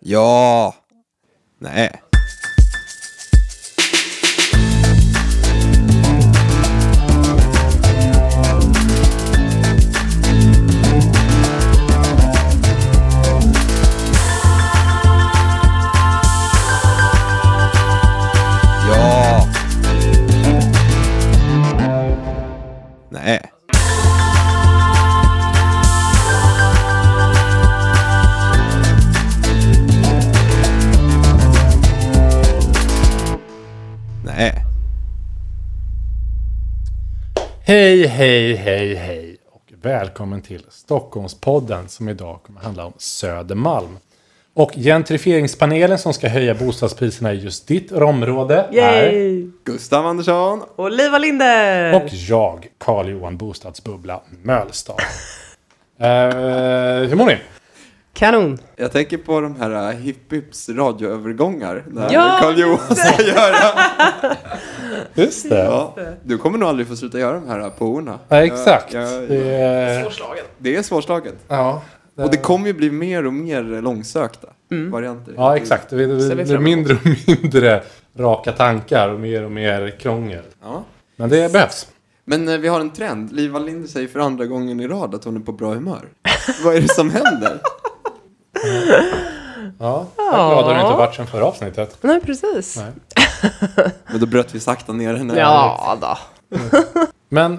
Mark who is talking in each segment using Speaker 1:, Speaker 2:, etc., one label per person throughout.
Speaker 1: Ja! Nej. Ja! Nej. Nej.
Speaker 2: Hej, hej, hej, hej och välkommen till Stockholmspodden som idag kommer handla om Södermalm. Och gentrifieringspanelen som ska höja bostadspriserna i just ditt område är
Speaker 3: Yay!
Speaker 1: Gustav Andersson.
Speaker 3: Och Liva Linder!
Speaker 2: och jag, Carl-Johan Bostadsbubbla Mölstad. Eh, hur mår ni?
Speaker 3: Kanon!
Speaker 1: Jag tänker på de här äh, Hipp Hips radioövergångar. När
Speaker 3: Ja,
Speaker 1: Carl Johan ska göra.
Speaker 2: Just det.
Speaker 1: Ja, du kommer nog aldrig få sluta göra de här äh, poorna.
Speaker 2: Ja, exakt.
Speaker 1: Ja, ja,
Speaker 2: Det är,
Speaker 1: Det är svårslaget.
Speaker 2: ja,
Speaker 1: Och det kommer ju bli mer och mer långsökta varianter.
Speaker 2: ja, exakt. Det
Speaker 3: vi
Speaker 2: blir
Speaker 3: fram emot.
Speaker 2: mindre och mindre raka tankar och mer och mer krångel.
Speaker 1: Ja.
Speaker 2: Men det behövs.
Speaker 1: Men eh, vi har en trend. Liv Linder säger för andra gången i rad att hon är på bra humör. Vad är det som händer?
Speaker 2: Ja, jag är glad att det inte varit sen förra avsnittet.
Speaker 3: Nej, precis.
Speaker 2: Nej.
Speaker 1: Men då bröt vi sakta ner henne.
Speaker 3: Ja, då.
Speaker 2: Men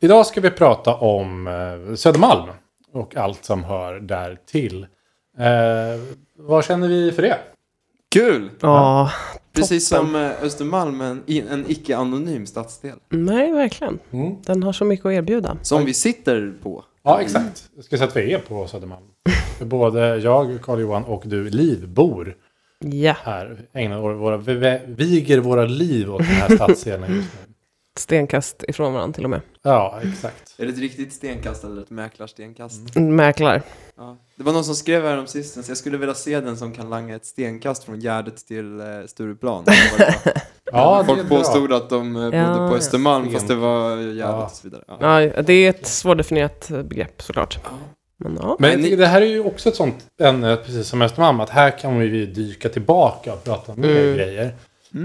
Speaker 2: idag ska vi prata om eh, Södermalm och allt som hör där till. Eh, vad känner vi för det?
Speaker 1: Kul!
Speaker 3: Ja.
Speaker 1: Precis som eh, Östermalm, en, i- en icke-anonym stadsdel.
Speaker 3: Nej, verkligen.
Speaker 2: Mm.
Speaker 3: Den har så mycket att erbjuda.
Speaker 1: Som vi sitter på.
Speaker 2: Ja, exakt. Jag ska säga att vi är på Södermalm. För Både jag, Carl-Johan och du, Liv, bor
Speaker 3: Ja,
Speaker 2: här. Ägnar våra, våra, vi- vi- viger våra liv åt den här stadsdelen just nu.
Speaker 3: stenkast ifrån varandra till och med.
Speaker 2: Ja, exakt.
Speaker 1: Är det ett riktigt stenkast eller ett mäklarstenkast?
Speaker 2: Mm.
Speaker 3: Mäklar.
Speaker 1: Ja. Det var någon som skrev här om sistens, jag skulle vilja se den som kan langa ett stenkast från Gärdet till eh, Stureplan. Det var det.
Speaker 2: Ja, det är
Speaker 1: Folk
Speaker 2: bra.
Speaker 1: påstod att de eh, bodde
Speaker 3: Ja.
Speaker 1: på Östermalm
Speaker 2: Sten.
Speaker 1: fast det var Gärdet
Speaker 2: Ja.
Speaker 1: och så vidare. Ja.
Speaker 3: Ja, det är ett svårdefinierat begrepp såklart. Men ja.
Speaker 2: Men jag
Speaker 1: Men ni-
Speaker 2: tycker det här är ju också ett sånt ämne, precis som Östermalm, att här kan vi ju dyka tillbaka och prata om mer grejer.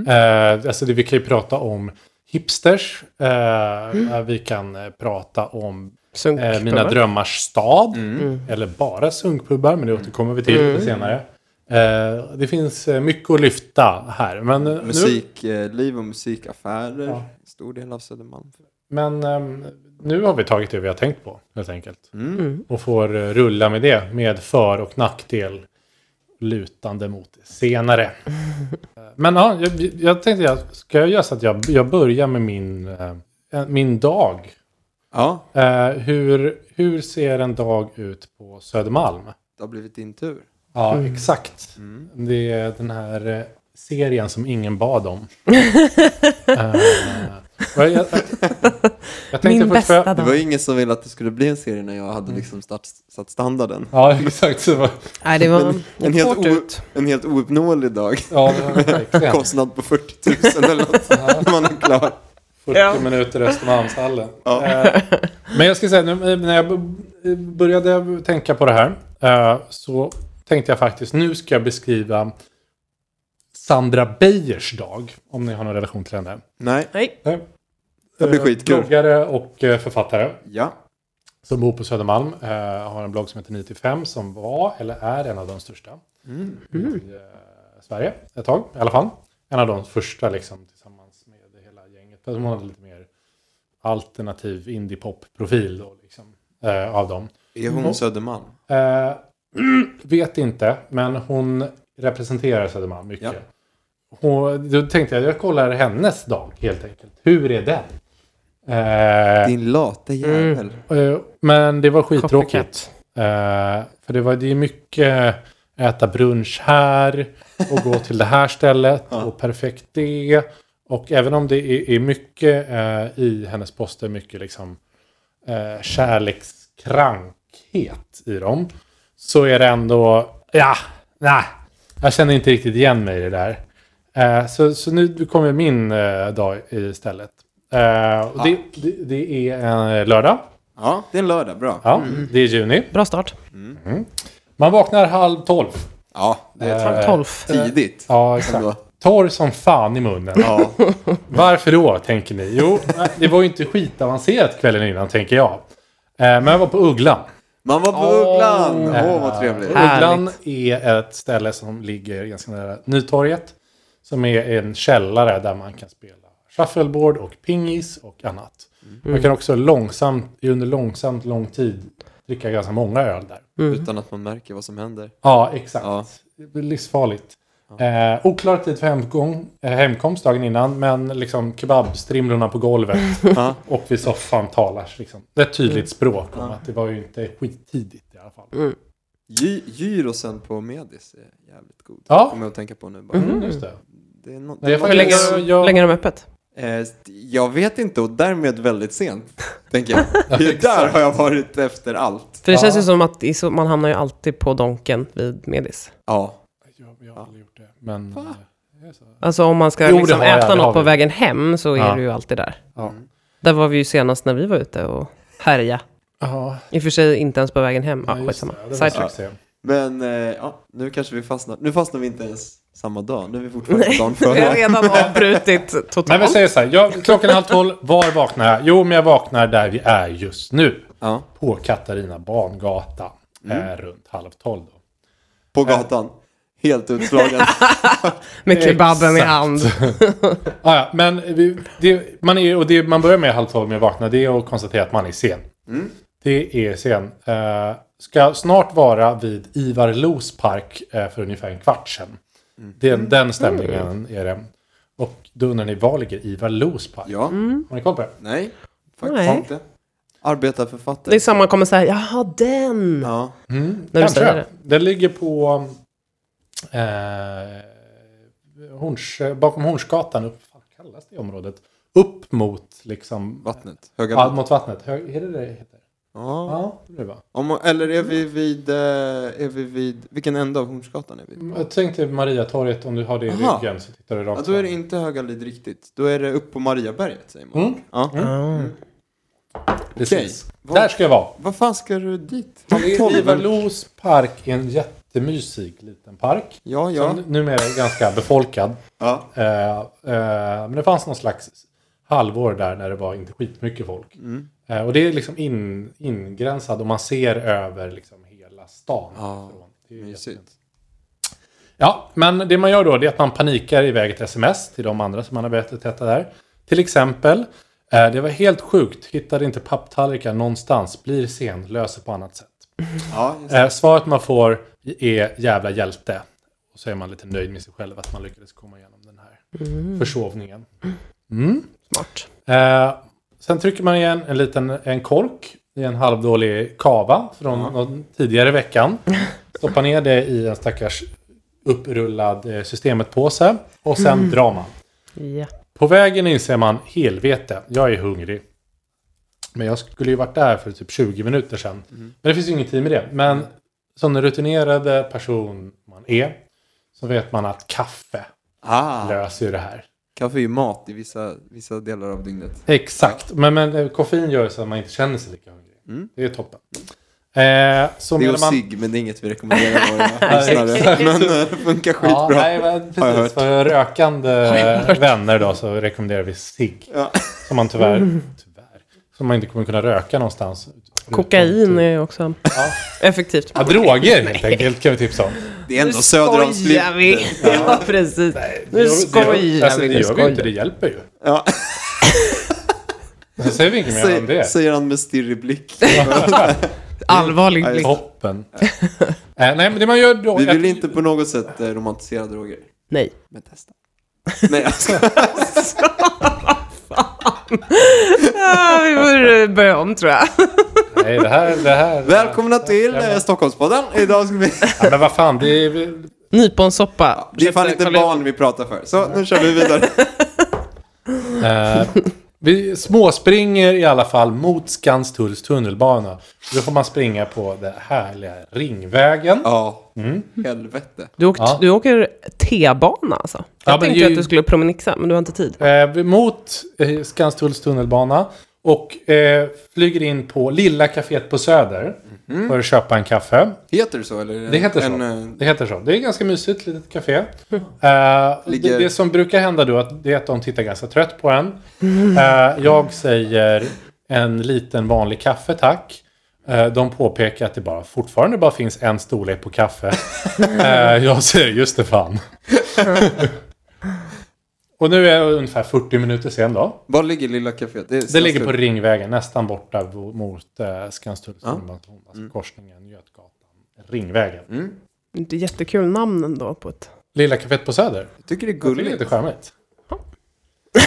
Speaker 2: Eh, alltså det, vi kan ju prata om hipsters, eh, vi kan eh, prata om
Speaker 3: Sunk. Mm.
Speaker 2: eh, Mina drömmars stad,
Speaker 1: Mm.
Speaker 2: eller bara sunkpubbar, men det återkommer vi till lite senare. Eh, det finns eh, mycket att lyfta här. Men, eh, Nu,
Speaker 1: Musikliv och musikaffärer.
Speaker 2: Ja.
Speaker 1: Stor del av Södermalm.
Speaker 2: men ehm, nu har vi tagit det vi har tänkt på, helt enkelt.
Speaker 1: Mm.
Speaker 3: Mm.
Speaker 2: Och får eh, rulla med det, med för och nackdel lutande mot senare. Eh, Men ja, jag, jag tänkte, jag, ska jag göra så att jag, jag börjar med min, eh, eh, min dag?
Speaker 1: Ja,
Speaker 2: Eh, hur, hur ser en dag ut på Södermalm?
Speaker 1: det har blivit din tur.
Speaker 2: Ja,
Speaker 3: Mm.
Speaker 2: exakt. Det är den här eh, serien som ingen bad om. Eh, vad jag, jag, jag tänkte
Speaker 3: Min
Speaker 2: först-
Speaker 3: bästa
Speaker 2: för-
Speaker 1: Det
Speaker 3: dag.
Speaker 1: var ju ingen som ville att det skulle bli en serie när jag
Speaker 2: Mm.
Speaker 1: hade liksom start, satt standarden.
Speaker 2: Ja, exakt. Det var,
Speaker 3: Nej, det var
Speaker 1: Men en, helt
Speaker 3: hårt
Speaker 1: o,
Speaker 3: ut.
Speaker 1: en helt ouppnåelig dag.
Speaker 2: ja, det var verkligen.
Speaker 1: Kostnad på 40 000 eller något. när man är klar.
Speaker 2: 40
Speaker 3: Ja.
Speaker 2: minuter Östermalmshallen.
Speaker 1: Ja.
Speaker 2: Eh, Men jag ska säga, nu, eh, när jag b- började tänka på det här eh, så tänkte jag faktiskt, nu ska jag beskriva Sandra Beijers dag, om ni har någon relation till henne.
Speaker 1: Nej,
Speaker 3: Nej.
Speaker 2: Nej.
Speaker 1: det blir
Speaker 2: Eh,
Speaker 1: skitkul.
Speaker 2: Bloggare och eh, författare
Speaker 1: Ja.
Speaker 2: som bor på Södermalm. Eh, har en blogg som heter 95 som var, eller är, en av de största i eh, Sverige ett tag i alla fall. En av de första liksom tillsammans med hela gänget. Fast hon hade lite mer alternativ indiepop-profil då liksom eh, av dem.
Speaker 1: Är hon Södermalm?
Speaker 2: Eh, vet inte, men hon representerar Södermalm mycket.
Speaker 1: Ja.
Speaker 2: Hon, då tänkte jag, jag kollar hennes dag helt enkelt. Hur är den? Eh,
Speaker 1: Din late jävel.
Speaker 2: Eh, Men det var skittråkigt. Eh, För det, var, det är mycket äta brunch här och gå till det här stället och perfekt det. Och även om det är, är mycket eh, i hennes poster, mycket liksom eh, kärlekskrankhet i dem. Så är det ändå, ja, nej, jag känner inte riktigt igen mig i det där. Eh, så, så nu kommer min eh, dag istället. Eh, och det, det, det är en eh, lördag.
Speaker 1: Ja, det är en lördag. Bra.
Speaker 2: Ja, det är juni.
Speaker 3: Bra start.
Speaker 2: Man vaknar halv tolv.
Speaker 1: Ja, det är
Speaker 2: Eh,
Speaker 3: Tolv.
Speaker 1: tidigt.
Speaker 2: Ja, exakt.
Speaker 1: Ändå.
Speaker 2: Torr som fan i munnen.
Speaker 1: Ja.
Speaker 2: Varför då, tänker ni? Jo, det var ju inte skitavancerat kvällen innan, tänker jag. Eh, Men jag var på Ugglan.
Speaker 1: Man var på
Speaker 3: Åh.
Speaker 1: Ugglan! Åh,
Speaker 2: Eh,
Speaker 1: vad trevligt.
Speaker 2: och Ugglan är ett ställe som ligger ganska nära Nytorget. Som är en källare där man kan spela shuffleboard och pingis och annat. Man kan också långsamt, under långsamt lång tid dricka ganska många öl där.
Speaker 3: Mm.
Speaker 1: Utan att man märker vad som händer.
Speaker 2: Ja, exakt.
Speaker 1: Ja.
Speaker 2: Det blir livsfarligt. Eh, oklar tid för hemgång, eh, hemkomst dagen innan, men liksom kebabstrimlorna på golvet
Speaker 1: Ja.
Speaker 2: och vid soffan talas liksom. Det är ett tydligt språk om att det var ju inte skittidigt i alla fall.
Speaker 3: Mm.
Speaker 1: Gy- gyrosen på Medis är jävligt god.
Speaker 2: Ja.
Speaker 1: Kommer jag att tänka på nu bara.
Speaker 2: Mm, just det.
Speaker 1: Det är no-
Speaker 2: Nej, jag får
Speaker 3: Hur länge,
Speaker 2: Jag- jag-
Speaker 3: länge är de öppet?
Speaker 1: Eh, jag vet inte och därmed väldigt sent, tänker jag. Det där har jag varit efter allt.
Speaker 3: För det
Speaker 2: Ja.
Speaker 3: känns ju som att i så- man hamnar ju alltid på donken vid Medis.
Speaker 1: Ja.
Speaker 2: Jag, jag har aldrig gjort det. Men, eh, det är så.
Speaker 3: Alltså om man ska
Speaker 2: Jo, det
Speaker 3: liksom
Speaker 2: har jag,
Speaker 3: äta
Speaker 2: det har
Speaker 3: något på
Speaker 2: vi.
Speaker 3: vägen hem så
Speaker 2: Ja.
Speaker 3: är du ju alltid där.
Speaker 2: ja.
Speaker 3: Där var vi ju senast när vi var ute och härja.
Speaker 2: Ja,
Speaker 3: I och för sig inte ens på vägen hem. Ja,
Speaker 2: just
Speaker 3: skitsamma.
Speaker 2: det. Det var
Speaker 3: Side-
Speaker 2: succé.
Speaker 1: Men eh, ja, nu kanske vi fastnar. Nu fastnar vi inte ens samma dag. Nu är vi fortfarande dagen
Speaker 3: Vi har
Speaker 1: före.
Speaker 3: redan avbrutit totalt.
Speaker 2: Men vi säger så här, jag, klockan är halv tolv, var vaknar jag? Jo, men jag vaknar där vi är just nu.
Speaker 1: Ja,
Speaker 2: På Katarina Bangatan. Eh, runt halv tolv då.
Speaker 1: på gatan. Helt utslagen.
Speaker 3: Med kebaben i
Speaker 2: Exakt.
Speaker 3: hand.
Speaker 2: Ah, ja, men vi, det, man, är, och det man börjar med halv tolv med att vakna, det är att konstatera att man är sen.
Speaker 1: Mm.
Speaker 2: Det är sen. Eh, ska snart vara vid Ivar Los park eh, för ungefär en kvart sedan.
Speaker 1: Mm.
Speaker 2: Det,
Speaker 3: Mm.
Speaker 2: är Den stämningen är det. Och då undrar ni, var ligger Ivar Los park?
Speaker 1: Ja,
Speaker 3: Mm.
Speaker 2: Har ni koll på det?
Speaker 1: nej. Faktiskt
Speaker 3: Nej.
Speaker 1: inte. Arbetarförfattare.
Speaker 3: Det är samma kommer säga, jaha den!
Speaker 1: Ja.
Speaker 3: När du
Speaker 2: Mm, Kanske.
Speaker 3: säger det.
Speaker 2: Den ligger på... Eh, Horns, bakom Hornsgatan, upp, vad kallas det området? Upp mot liksom...
Speaker 1: Vattnet. Höga
Speaker 2: Ja,
Speaker 1: vattnet.
Speaker 2: mot vattnet. Hö- Är det det det heter?
Speaker 1: Ja.
Speaker 2: Ja, det blir bra.
Speaker 1: Om, eller är vi vid... eh, Är vi vid vilken ände av Hornsgatan är vi? på?
Speaker 2: Jag tänkte Mariatorget, om du har det i
Speaker 1: Aha.
Speaker 2: ryggen så tittar du
Speaker 1: Ja,
Speaker 2: rakt
Speaker 1: då är det
Speaker 2: fram.
Speaker 1: inte Högalid riktigt. Då är det upp på Mariaberget säger man.
Speaker 2: Mm.
Speaker 1: Ja.
Speaker 2: Precis.
Speaker 1: Okej.
Speaker 2: Där ska jag vara.
Speaker 1: Vad fan ska du dit?
Speaker 2: Ivar Los park är en jättemysig liten park.
Speaker 1: Ja, ja.
Speaker 2: Som numera är ganska befolkad.
Speaker 1: ja.
Speaker 2: Eh, eh, men det fanns någon slags halvår där när det var inte skitmycket folk.
Speaker 1: Mm.
Speaker 2: Eh, och det är liksom in, ingränsad och man ser över liksom hela stan.
Speaker 1: Ja,
Speaker 2: härifrån. Det är jättefint.
Speaker 1: Mysigt.
Speaker 2: Ja, men det man gör då det är att man panikar iväg ett sms till de andra som man har berättat detta där. Till exempel, eh, det var helt sjukt, hittade inte papptallrikar någonstans, blir sen, löser på annat sätt.
Speaker 1: Ja, just det.
Speaker 2: Eh, svaret man får är jävla hjälte. Och så är man lite nöjd med sig själv att man lyckades komma igenom den här försovningen.
Speaker 3: Mm,
Speaker 2: Mm.
Speaker 3: Smart.
Speaker 2: Eh, sen trycker man igen en liten en kork i en halvdålig kava från någon tidigare veckan. Stoppar ner det i en stackars upprullad eh, systemet-påse och sen drar man.
Speaker 3: Ja.
Speaker 2: På vägen inser man helvete, jag är hungrig. Men jag skulle ju varit där för typ 20 minuter sedan. Men det finns ju ingen tid med det. Men som den rutinerade person man är så vet man att kaffe
Speaker 1: Ah,
Speaker 2: löser ju det här.
Speaker 1: kaffe är ju mat i vissa, vissa delar av dygnet.
Speaker 2: Exakt, men, men eh, koffein gör ju så att man inte känner sig lika hungrig.
Speaker 1: Mm.
Speaker 2: Det är toppen. Eh, så
Speaker 1: Det är
Speaker 2: menar
Speaker 1: ju
Speaker 2: man...
Speaker 1: cigg, men det är inget vi rekommenderar våra
Speaker 2: exakt.
Speaker 1: lyssnare. Men eh, det funkar
Speaker 2: Ja,
Speaker 1: skitbra.
Speaker 2: nej, men
Speaker 1: Har jag hört.
Speaker 2: precis, för rökande vänner då så rekommenderar vi cigg.
Speaker 1: Ja. Mm.
Speaker 2: Som man tyvärr, tyvärr, som man inte kommer kunna röka någonstans.
Speaker 3: Kokain är ju också
Speaker 2: Ja.
Speaker 3: effektivt.
Speaker 2: Ja, droger helt enkelt kan vi tipsa om.
Speaker 1: Det är ändå söder om
Speaker 3: skojar
Speaker 1: Slipper.
Speaker 3: vi! Ja, precis. Nu skojar
Speaker 2: Alltså,
Speaker 3: vi.
Speaker 2: det
Speaker 3: nu
Speaker 2: gör vi
Speaker 3: skojar
Speaker 2: inte, det
Speaker 3: vi.
Speaker 2: hjälper ju.
Speaker 1: Ja,
Speaker 2: Så säger vi inget mer om
Speaker 1: säger,
Speaker 2: det.
Speaker 1: säger han med stirrig blick.
Speaker 3: Allvarlig blick.
Speaker 2: Toppen. Eh, nej, men det man gör då...
Speaker 1: Vi vill inte på något sätt eh, romantisera droger.
Speaker 3: Nej.
Speaker 1: Men testa. Nej, jag ska...
Speaker 3: Ah, vi borde börja om tror jag.
Speaker 2: Nej, det här... Det här
Speaker 1: Välkomna till eh, Stockholmspodden. Idag ska vi...
Speaker 2: Ja, men vad fan, det är...
Speaker 3: Nyponsoppa.
Speaker 1: Det är fan
Speaker 3: Ursäkta,
Speaker 1: inte
Speaker 3: kolla-
Speaker 1: barn vi pratar för. Så nu kör vi vidare.
Speaker 2: Eh, vi småspringer i alla fall mot Skanstulls tunnelbana. Då får man springa på den härliga Ringvägen.
Speaker 1: Ja,
Speaker 2: Mm.
Speaker 1: helvete.
Speaker 3: Du, åkt,
Speaker 2: Ja.
Speaker 3: du åker T-bana alltså? Jag
Speaker 2: Ja, men
Speaker 3: tänkte
Speaker 2: det är
Speaker 3: att
Speaker 2: ju-
Speaker 3: du skulle promenixa, men du har inte tid.
Speaker 2: Eh, mot eh, Skanstulls tunnelbana. Och eh, flyger in på Lilla Caféet på Söder för att köpa en kaffe.
Speaker 1: Heter det så? Eller är
Speaker 2: Det heter så.
Speaker 1: en, eh,
Speaker 2: Det heter så. Det är ett ganska mysigt litet café. Eh,
Speaker 1: Ligger-
Speaker 2: det, det som brukar hända då att, det är att de tittar ganska trött på en. Eh, jag säger en liten vanlig kaffe tack. Eh, de påpekar att det bara, fortfarande bara finns en storlek på kaffe. Eh, jag säger just det fan. Och nu är det ungefär 40 minuter sen då.
Speaker 1: Var ligger lilla kaféet? är
Speaker 2: Det ligger på
Speaker 1: Skanstull.
Speaker 2: Ringvägen, nästan borta mot eh, Skanstulls
Speaker 1: Ja.
Speaker 2: alltså korsningen Götgatan. Ringvägen.
Speaker 1: Mm.
Speaker 3: Inte jättekul namn ändå på ett...
Speaker 2: Lilla kaféet på Söder.
Speaker 1: Jag tycker det är
Speaker 2: Gulligt. Det är
Speaker 1: gulligt.
Speaker 2: lite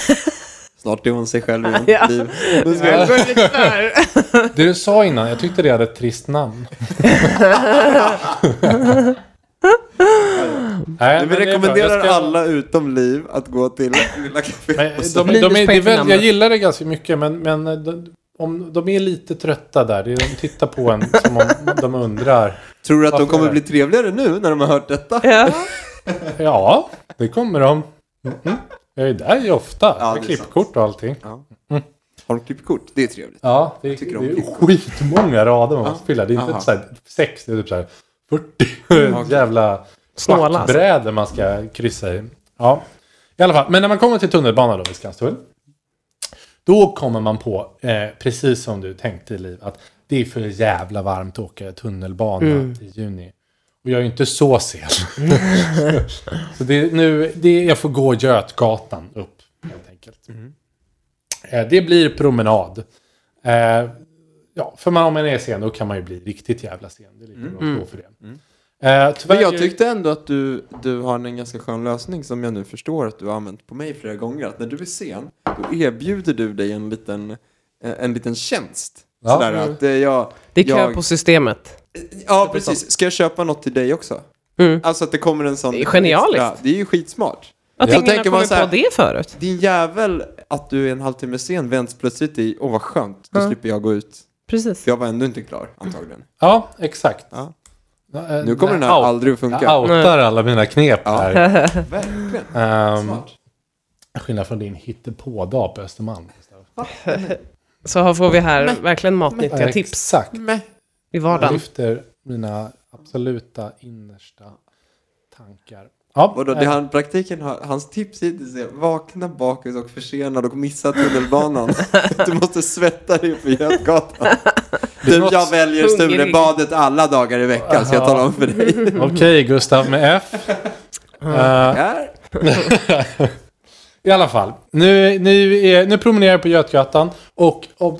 Speaker 2: charmigt.
Speaker 1: Snart är hon sig själv igen.
Speaker 3: Ja.
Speaker 1: liv. Nu ska jag-
Speaker 2: Det du sa innan, jag tyckte det hade ett trist namn. Nej,
Speaker 1: Nej,
Speaker 2: men det
Speaker 1: Vi
Speaker 2: är bra.
Speaker 1: rekommenderar
Speaker 2: Jag ska-
Speaker 1: alla utom Liv att gå till lilla
Speaker 2: Men
Speaker 1: kaféet. på
Speaker 2: de,
Speaker 1: Söder.
Speaker 2: de, är, det är väl, jag
Speaker 3: namnet.
Speaker 2: gillar det ganska mycket, men, men de, om, de är lite trötta där. Det är- De tittar på en som om de undrar.
Speaker 1: Tror du att de
Speaker 2: Varför
Speaker 1: kommer
Speaker 2: är
Speaker 1: bli
Speaker 2: det?
Speaker 1: trevligare nu när de har hört detta?
Speaker 3: ja.
Speaker 2: Ja, det kommer de. Mhm. Jag är där ju ofta.
Speaker 1: Ja,
Speaker 2: med
Speaker 1: det är sant.
Speaker 2: klippkort och allting.
Speaker 1: Har de klippkort? Det är trevligt.
Speaker 2: Ja, det är,
Speaker 1: tycker
Speaker 2: det
Speaker 1: om
Speaker 2: är
Speaker 1: klippkort.
Speaker 2: skitmånga rader man måste fylla. Det är
Speaker 1: Aha.
Speaker 2: inte så här sex, det är typ så här 40
Speaker 1: okej.
Speaker 2: jävla
Speaker 3: Snåla, alltså.
Speaker 2: schackbrädor man ska kryssa i. Ja, i alla fall. Men när man kommer till tunnelbanan då vid Skanstull. Då kommer man på, eh, precis som du tänkte Liv, att det är för jävla varmt att åka tunnelbana i juni. Och jag är ju inte så sen. så det är nu, det är, jag får gå Götgatan upp helt enkelt. Eh, det blir promenad. Eh, ja, för man, om man är sen då kan man ju bli riktigt jävla sen. Det är lika bra att stå för det. Eh, tyvärr,
Speaker 1: Mm. Men jag tyckte ändå att du, du har en ganska skön lösning som jag nu förstår att du har använt på mig flera gånger. Att när du är sen, då erbjuder du dig en liten, eh, en liten tjänst.
Speaker 2: Ja.
Speaker 1: Sådär att eh, jag...
Speaker 3: Det är kö
Speaker 1: jag,
Speaker 3: på systemet.
Speaker 1: Ja, precis. Ska jag köpa något till dig också?
Speaker 3: Mm.
Speaker 1: Alltså att det kommer en sån...
Speaker 3: Det är genialiskt.
Speaker 1: Ja, det är ju skitsmart.
Speaker 3: Att
Speaker 1: Ja. Så
Speaker 3: ingen har
Speaker 1: tänker man
Speaker 3: kommit
Speaker 1: så här-
Speaker 3: på det förut.
Speaker 1: Din jävel, att du är en halvtimme sen vänds plötsligt i, åh vad skönt, då
Speaker 3: Ja.
Speaker 1: slipper jag gå ut.
Speaker 3: Precis.
Speaker 1: För jag var ändå inte klar, antagligen.
Speaker 2: Ja, exakt.
Speaker 1: Ja.
Speaker 2: Eh,
Speaker 1: Nu kommer den här
Speaker 2: out-
Speaker 1: aldrig att funka.
Speaker 2: Jag outar alla mina knep
Speaker 1: Ja.
Speaker 2: här.
Speaker 1: Verkligen.
Speaker 2: Ehm,
Speaker 1: Smart.
Speaker 2: skillnad från din hittepådag på Östermalm.
Speaker 3: Så här får vi här
Speaker 1: Men-
Speaker 3: verkligen matnyttiga
Speaker 2: Eh,
Speaker 3: tips
Speaker 2: Exakt.
Speaker 1: Men,
Speaker 3: i
Speaker 2: Jag
Speaker 3: vardagen.
Speaker 2: lyfter mina absoluta innersta tankar. Ja,
Speaker 1: Vadå, det
Speaker 2: eh,
Speaker 1: han, praktiken har, hans tips hittills är vakna bakis och försenad och missa tunnelbanan. du måste svetta dig på Götgatan. Du,
Speaker 2: något-
Speaker 1: jag väljer
Speaker 3: Hungrig.
Speaker 1: Sturebadet alla dagar i veckan, ska jag
Speaker 2: Aha.
Speaker 1: tala om för dig.
Speaker 2: Okej, Gustav med F. Eh,
Speaker 1: Här.
Speaker 2: I alla fall, nu, nu, är, nu promenerar jag på Götgatan och om,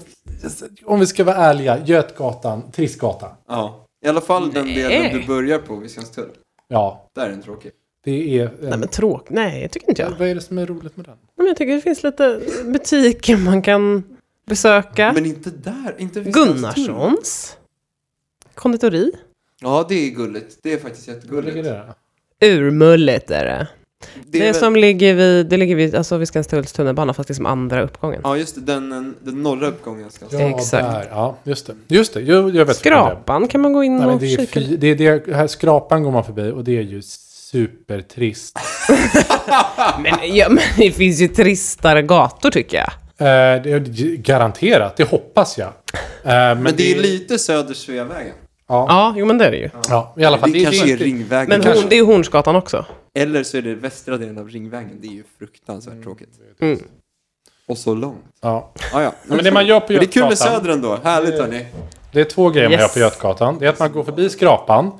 Speaker 2: om vi ska vara ärliga, Götgatan, Trissgatan.
Speaker 1: Ja. I alla fall den delen du börjar på vid Skanstull.
Speaker 2: Ja,
Speaker 1: Där är den tråkig.
Speaker 2: det är...
Speaker 3: Nej men tråk. Nej, jag tycker inte jag. Nej,
Speaker 2: Vad är det som är roligt med den?
Speaker 3: men jag tycker det finns lite butiker man kan besöka.
Speaker 1: Men inte där, inte vid Skanstull.
Speaker 3: Gunnarssons. Konditori.
Speaker 1: Ja, det är gulligt. Det är faktiskt
Speaker 2: Vad ligger
Speaker 1: jättegulligt.
Speaker 2: det där?
Speaker 3: Urmulligt är det. Det,
Speaker 1: väl-
Speaker 3: som ligger vid, det ligger vid, alltså vid Skanstulls tunnelbana, fast liksom andra uppgången.
Speaker 1: Ja, just det. Den, den, den norra uppgången. Ska
Speaker 2: Ja,
Speaker 3: Exakt.
Speaker 2: Där. Ja, just det. Just det, jag, jag vet vad det är.
Speaker 3: Skrapan kan man gå in
Speaker 2: Nej, men
Speaker 3: och
Speaker 2: det är
Speaker 3: kika.
Speaker 2: fy, det är det, här skrapan går man förbi och det är ju supertrist.
Speaker 3: Men, ja, men det finns ju tristare gator tycker jag.
Speaker 2: Eh, det är g- garanterat, det hoppas jag. Eh, men,
Speaker 1: Men det är lite söder Sveavägen.
Speaker 2: Ja,
Speaker 3: Ja, jo men det är det ju.
Speaker 2: ja, i alla fall.
Speaker 1: Det, kanske är
Speaker 2: inte-
Speaker 1: Ringvägen.
Speaker 3: Men
Speaker 1: kanske.
Speaker 3: hon, det är ju Hornsgatan också.
Speaker 1: Eller så är det västra delen av Ringvägen. Det är ju fruktansvärt tråkigt.
Speaker 3: Mm.
Speaker 1: Och så långt.
Speaker 2: Ja.
Speaker 1: Ah, ja.
Speaker 2: men det man gör på
Speaker 1: Men det är kul med
Speaker 2: Götgatan-
Speaker 1: Söder ändå. Härligt hörni.
Speaker 2: Det är två grejer man
Speaker 3: Yes.
Speaker 2: gör på Götgatan. Det är att man går förbi Skrapan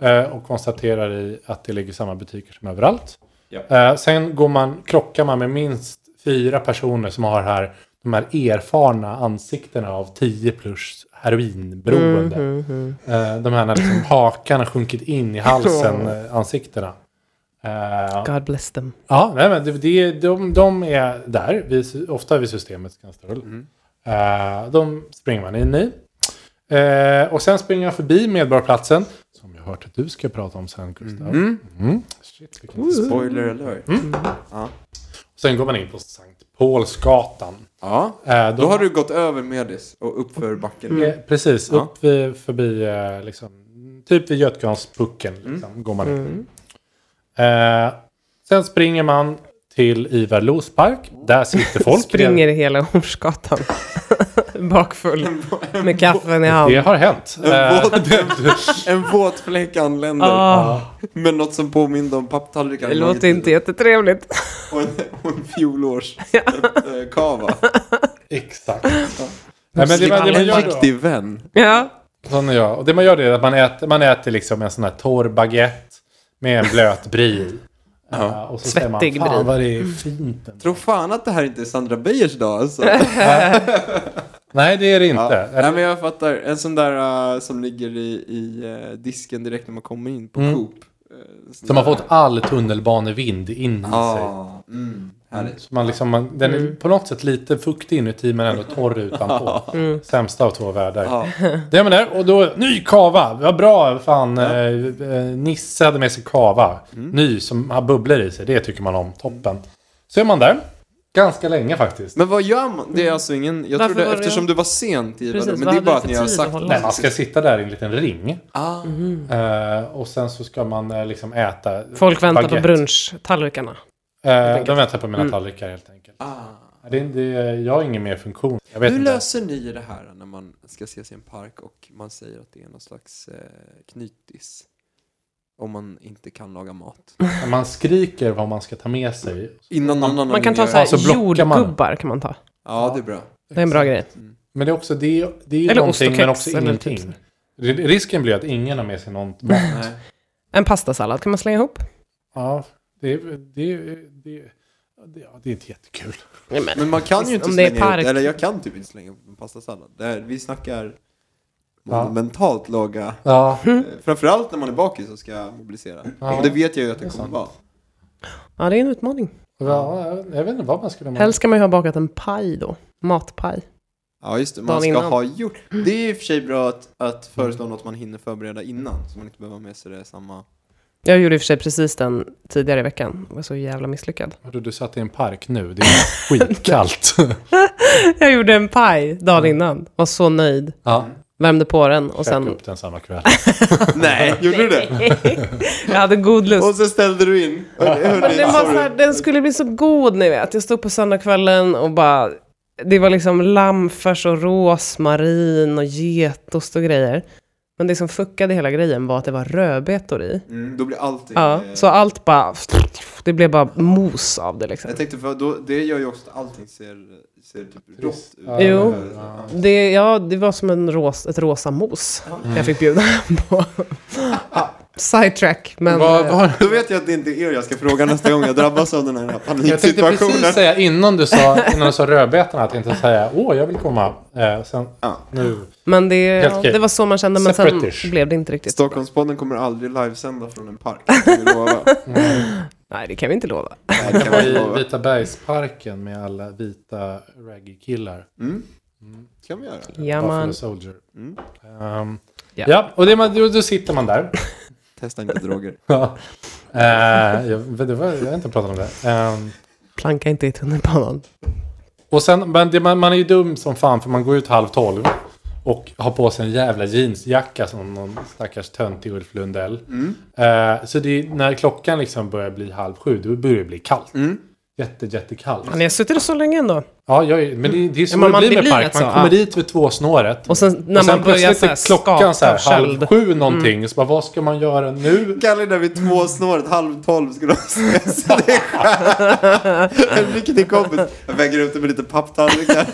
Speaker 2: eh, och konstaterar i att det ligger samma butiker som överallt.
Speaker 1: Ja.
Speaker 2: Eh, sen går man, krockar man med minst fyra personer som har här de här erfarna ansiktena av 10 plus heroinberoende. Eh, de här när liksom hakan har sjunkit in i halsen, eh, ansiktena. Eh,
Speaker 3: God bless them.
Speaker 2: Ja, nej, men det, det, de, de är där, vid, ofta vid systemets kanstrull.
Speaker 1: Mm.
Speaker 2: Eh, de springer man in i. Eh, och sen springer jag förbi Medborgarplatsen, som jag har hört att du ska prata om sen, Gustav. Mm. Shit, vilken
Speaker 1: Spoiler alert.
Speaker 2: Sen går man in på Sankt Paulsgatan.
Speaker 1: Ja.
Speaker 2: Eh,
Speaker 1: Då har du gått över Medis och uppför backen.
Speaker 2: Eh, precis,
Speaker 1: Ja.
Speaker 2: upp vid, förbi eh, liksom, typ vid
Speaker 1: Mm.
Speaker 2: Götgatspucken liksom, går man in. Eh, sen springer man till Ivar Lospark. Där sitter folk.
Speaker 3: Springer i hela Hornsgatan. Bakfull. Med kaffen i hand.
Speaker 2: Det har hänt.
Speaker 1: En
Speaker 2: Eh,
Speaker 1: våt, en våt fläck anländer.
Speaker 3: Ah,
Speaker 1: Med något som påminner om papptallrikar.
Speaker 3: det
Speaker 1: en gång i
Speaker 3: låter inte
Speaker 1: tiden.
Speaker 3: jättetrevligt.
Speaker 1: Och en, och en fjolårs eh, kava.
Speaker 2: Exakt. Nej, men det, man- det man
Speaker 1: en
Speaker 2: gör då,
Speaker 1: riktig vän.
Speaker 3: Ja.
Speaker 2: sån är jag. Och det man gör det är att man äter, man äter liksom en sån här torr baguette med en blöt brie i. Eh, och så säger man,
Speaker 3: Svettig brie."
Speaker 2: Fan vad det är fint. ändå."
Speaker 1: Tror fan att det här inte är Sandra Beijers dag alltså.
Speaker 2: Nej, det är det inte.
Speaker 1: Ja.
Speaker 2: Eller-
Speaker 1: Nej men jag fattar. En sån där eh, som ligger i, i eh, disken direkt när man kommer in på Coop. Uh,
Speaker 2: Mm. Som har fått all tunnelbanevind in i sig.
Speaker 1: ah, mm, härligt.
Speaker 2: Så man liksom, man, den är på något sätt lite fuktig inuti men ändå torr utanpå. Sämsta av två världar.
Speaker 1: Mm. Ja.
Speaker 2: Det är man där. Och då, ny kava. Vad bra. Fan, eh, eh, Nisse hade med sig kava.
Speaker 1: Mm.
Speaker 2: Ny som har bubblor i sig. Det tycker man om. Toppen. Så är man där. Ganska länge faktiskt.
Speaker 1: Men vad gör man? Det är alltså ingen... Jag
Speaker 3: Varför
Speaker 1: trodde,
Speaker 3: var det-
Speaker 1: eftersom du var sent i
Speaker 3: Precis,
Speaker 1: men
Speaker 3: vad
Speaker 1: det är
Speaker 3: hade
Speaker 1: bara
Speaker 3: du
Speaker 1: att
Speaker 3: för
Speaker 1: ni har
Speaker 3: tid
Speaker 1: sagt
Speaker 3: att hålla?
Speaker 2: Nej, man ska sitta där i en liten ring.
Speaker 1: Ah,
Speaker 2: Eh, och sen så ska man eh, liksom äta
Speaker 3: Folk väntar på
Speaker 2: baguette.
Speaker 3: brunchtallrikarna.
Speaker 2: Eh, de väntar på mina tallrikar helt enkelt.
Speaker 1: Mm. ah.
Speaker 2: Det, det, jag har ingen mer funktion. Jag vet
Speaker 1: Hur
Speaker 2: inte.
Speaker 1: löser ni det här när man ska ses i en park och man säger att det är någon slags eh, knytis? Om man inte kan laga mat.
Speaker 2: Man skriker vad man ska ta med sig.
Speaker 1: Innan någon annan
Speaker 3: Man kan ta
Speaker 1: gör
Speaker 3: så här
Speaker 1: det.
Speaker 2: så blockar man.
Speaker 3: jordgubbar kan man ta.
Speaker 1: Ja, det är bra.
Speaker 3: Det är en bra grej.
Speaker 2: Men det är också det, är- det är ju
Speaker 3: Eller
Speaker 2: någonting
Speaker 3: ost och
Speaker 2: men
Speaker 3: kex,
Speaker 2: också
Speaker 3: eller
Speaker 2: ingenting.
Speaker 3: typ Mm.
Speaker 2: R- Risken blir att ingen har med sig något. mat.
Speaker 1: Nej.
Speaker 3: En pastasallad kan man slänga ihop.
Speaker 2: ja, det, är- det, är- det, är- det, ja, det är inte jättekul.
Speaker 1: Men man kan ju inte
Speaker 3: Om det är
Speaker 1: slänga ihop
Speaker 3: park.
Speaker 1: Eller jag kan typ inte slänga ihop en pastasallad. Det här- Vi snackar
Speaker 2: Ja.
Speaker 1: monumentalt låga.
Speaker 2: Ja,
Speaker 3: Mm.
Speaker 1: eh, Framförallt när man är bakis så ska jag mobilisera.
Speaker 2: Ja.
Speaker 1: Och det vet jag ju att det
Speaker 2: är
Speaker 1: kommer
Speaker 2: sant.
Speaker 1: vara.
Speaker 3: Ja, det är en utmaning.
Speaker 2: ja, jag- jag vet inte vad man skulle...
Speaker 3: Helst ska man ju ha bakat en paj då. Matpaj.
Speaker 1: Ja just det, man
Speaker 3: Dagen
Speaker 1: ska
Speaker 3: innan.
Speaker 1: ha gjort. Det är i och för sig bra att, att föreslå något man hinner förbereda innan. Så man inte behöver ha med sig det samma.
Speaker 3: Jag gjorde i och för sig precis den tidigare i veckan. Jag var så jävla misslyckad.
Speaker 2: Du, du satt i en park nu, det är skitkallt.
Speaker 3: Jag gjorde en paj dagen innan. Var så nöjd.
Speaker 2: ja,
Speaker 3: Värmde på den och
Speaker 2: sen...
Speaker 3: sen...
Speaker 2: upp den samma kväll.
Speaker 1: Nej, gjorde du det?
Speaker 3: Jag hade god lust.
Speaker 1: Och så ställde du in. Hörni,
Speaker 3: Men
Speaker 1: hörni,
Speaker 3: den, var så här,
Speaker 1: sorry.
Speaker 3: den skulle bli så god, ni vet. Jag stod på söndagskvällen och bara... Det var liksom lammfärs och rosmarin och getost och grejer. Men det som fuckade hela grejen var att det var rödbetor i.
Speaker 1: Mm, då blir allting...
Speaker 3: Ja,
Speaker 1: eh,
Speaker 3: så allt bara... Det blev bara mos av det liksom.
Speaker 1: Jag tänkte för då, det gör ju också att allting ser, ser typ rått
Speaker 2: Trist.
Speaker 1: ut.
Speaker 2: Ja,
Speaker 3: Jo.
Speaker 2: eller hur? Ja.
Speaker 3: Det, ja, det var som en ros, ett rosa mos jag fick bjuda på. Ja, sidetrack, men... eh,
Speaker 2: Vad- vad-
Speaker 1: Då vet jag att det inte är er jag ska fråga nästa gång jag drabbas av den här
Speaker 2: Jag tänkte
Speaker 1: paniksituationen.
Speaker 2: precis säga innan du sa, innan du sa rödbetorna att jag inte säga åh jag vill komma. Eh, sen,
Speaker 1: Ja.
Speaker 2: nu.
Speaker 3: Men det,
Speaker 2: Helt
Speaker 3: ja,
Speaker 2: okej.
Speaker 3: det var så man kände, men sen
Speaker 2: Separatish.
Speaker 3: blev det inte riktigt.
Speaker 1: Stockholmspodden kommer aldrig livesända från en park. det kan vi lova.
Speaker 3: Nej, det kan vi inte lova.
Speaker 1: Nej, det kan
Speaker 2: Jag
Speaker 1: vi
Speaker 2: var
Speaker 1: inte
Speaker 2: i
Speaker 1: lova.
Speaker 2: Vita Bergsparken med alla vita reggae-killar.
Speaker 1: Mm. Det kan vi göra.
Speaker 3: Ja,
Speaker 2: Buffalo
Speaker 3: man,
Speaker 2: Soldier.
Speaker 1: Mm.
Speaker 2: Ehm,
Speaker 3: Ja.
Speaker 2: Ja, och det, man, då, då sitter man där.
Speaker 1: Testa inte droger.
Speaker 2: Ja. Eh, jag, vet- det var, jag har inte pratat om det. Ehm,
Speaker 3: planka inte i tunnelbanan.
Speaker 2: och sen, men det, man, man är ju dum som fan för man går ut halv tolv. Och har på sig en jävla jeansjacka som någon stackars töntig Ulf Lundell. Eh, så det, är- när klockan liksom börjar bli halv sju, då börjar det bli kallt. Jätte, jättekallt.
Speaker 3: Men jag sitter så länge ändå.
Speaker 2: Ja, jag, är- men det, det är så
Speaker 3: Ja, men
Speaker 2: det
Speaker 3: man-
Speaker 2: blir
Speaker 3: det
Speaker 2: med
Speaker 3: blir
Speaker 2: park.
Speaker 3: rätt
Speaker 2: Man
Speaker 3: så,
Speaker 2: kommer
Speaker 3: ja.
Speaker 2: dit vid tvåsnåret.
Speaker 3: Och sen när
Speaker 2: och
Speaker 3: man börjar så
Speaker 2: plötsligt
Speaker 3: här,
Speaker 2: är klockan så här,
Speaker 3: skaka Mm. av
Speaker 2: halv
Speaker 3: köld.
Speaker 2: sju någonting. Så bara, vad ska man göra nu?
Speaker 1: Kalle där vid tvåsnåret, halv tolv skulle han ses. Det är skönt. En riktig kompis. Jag väger ut det med lite papptallrikar.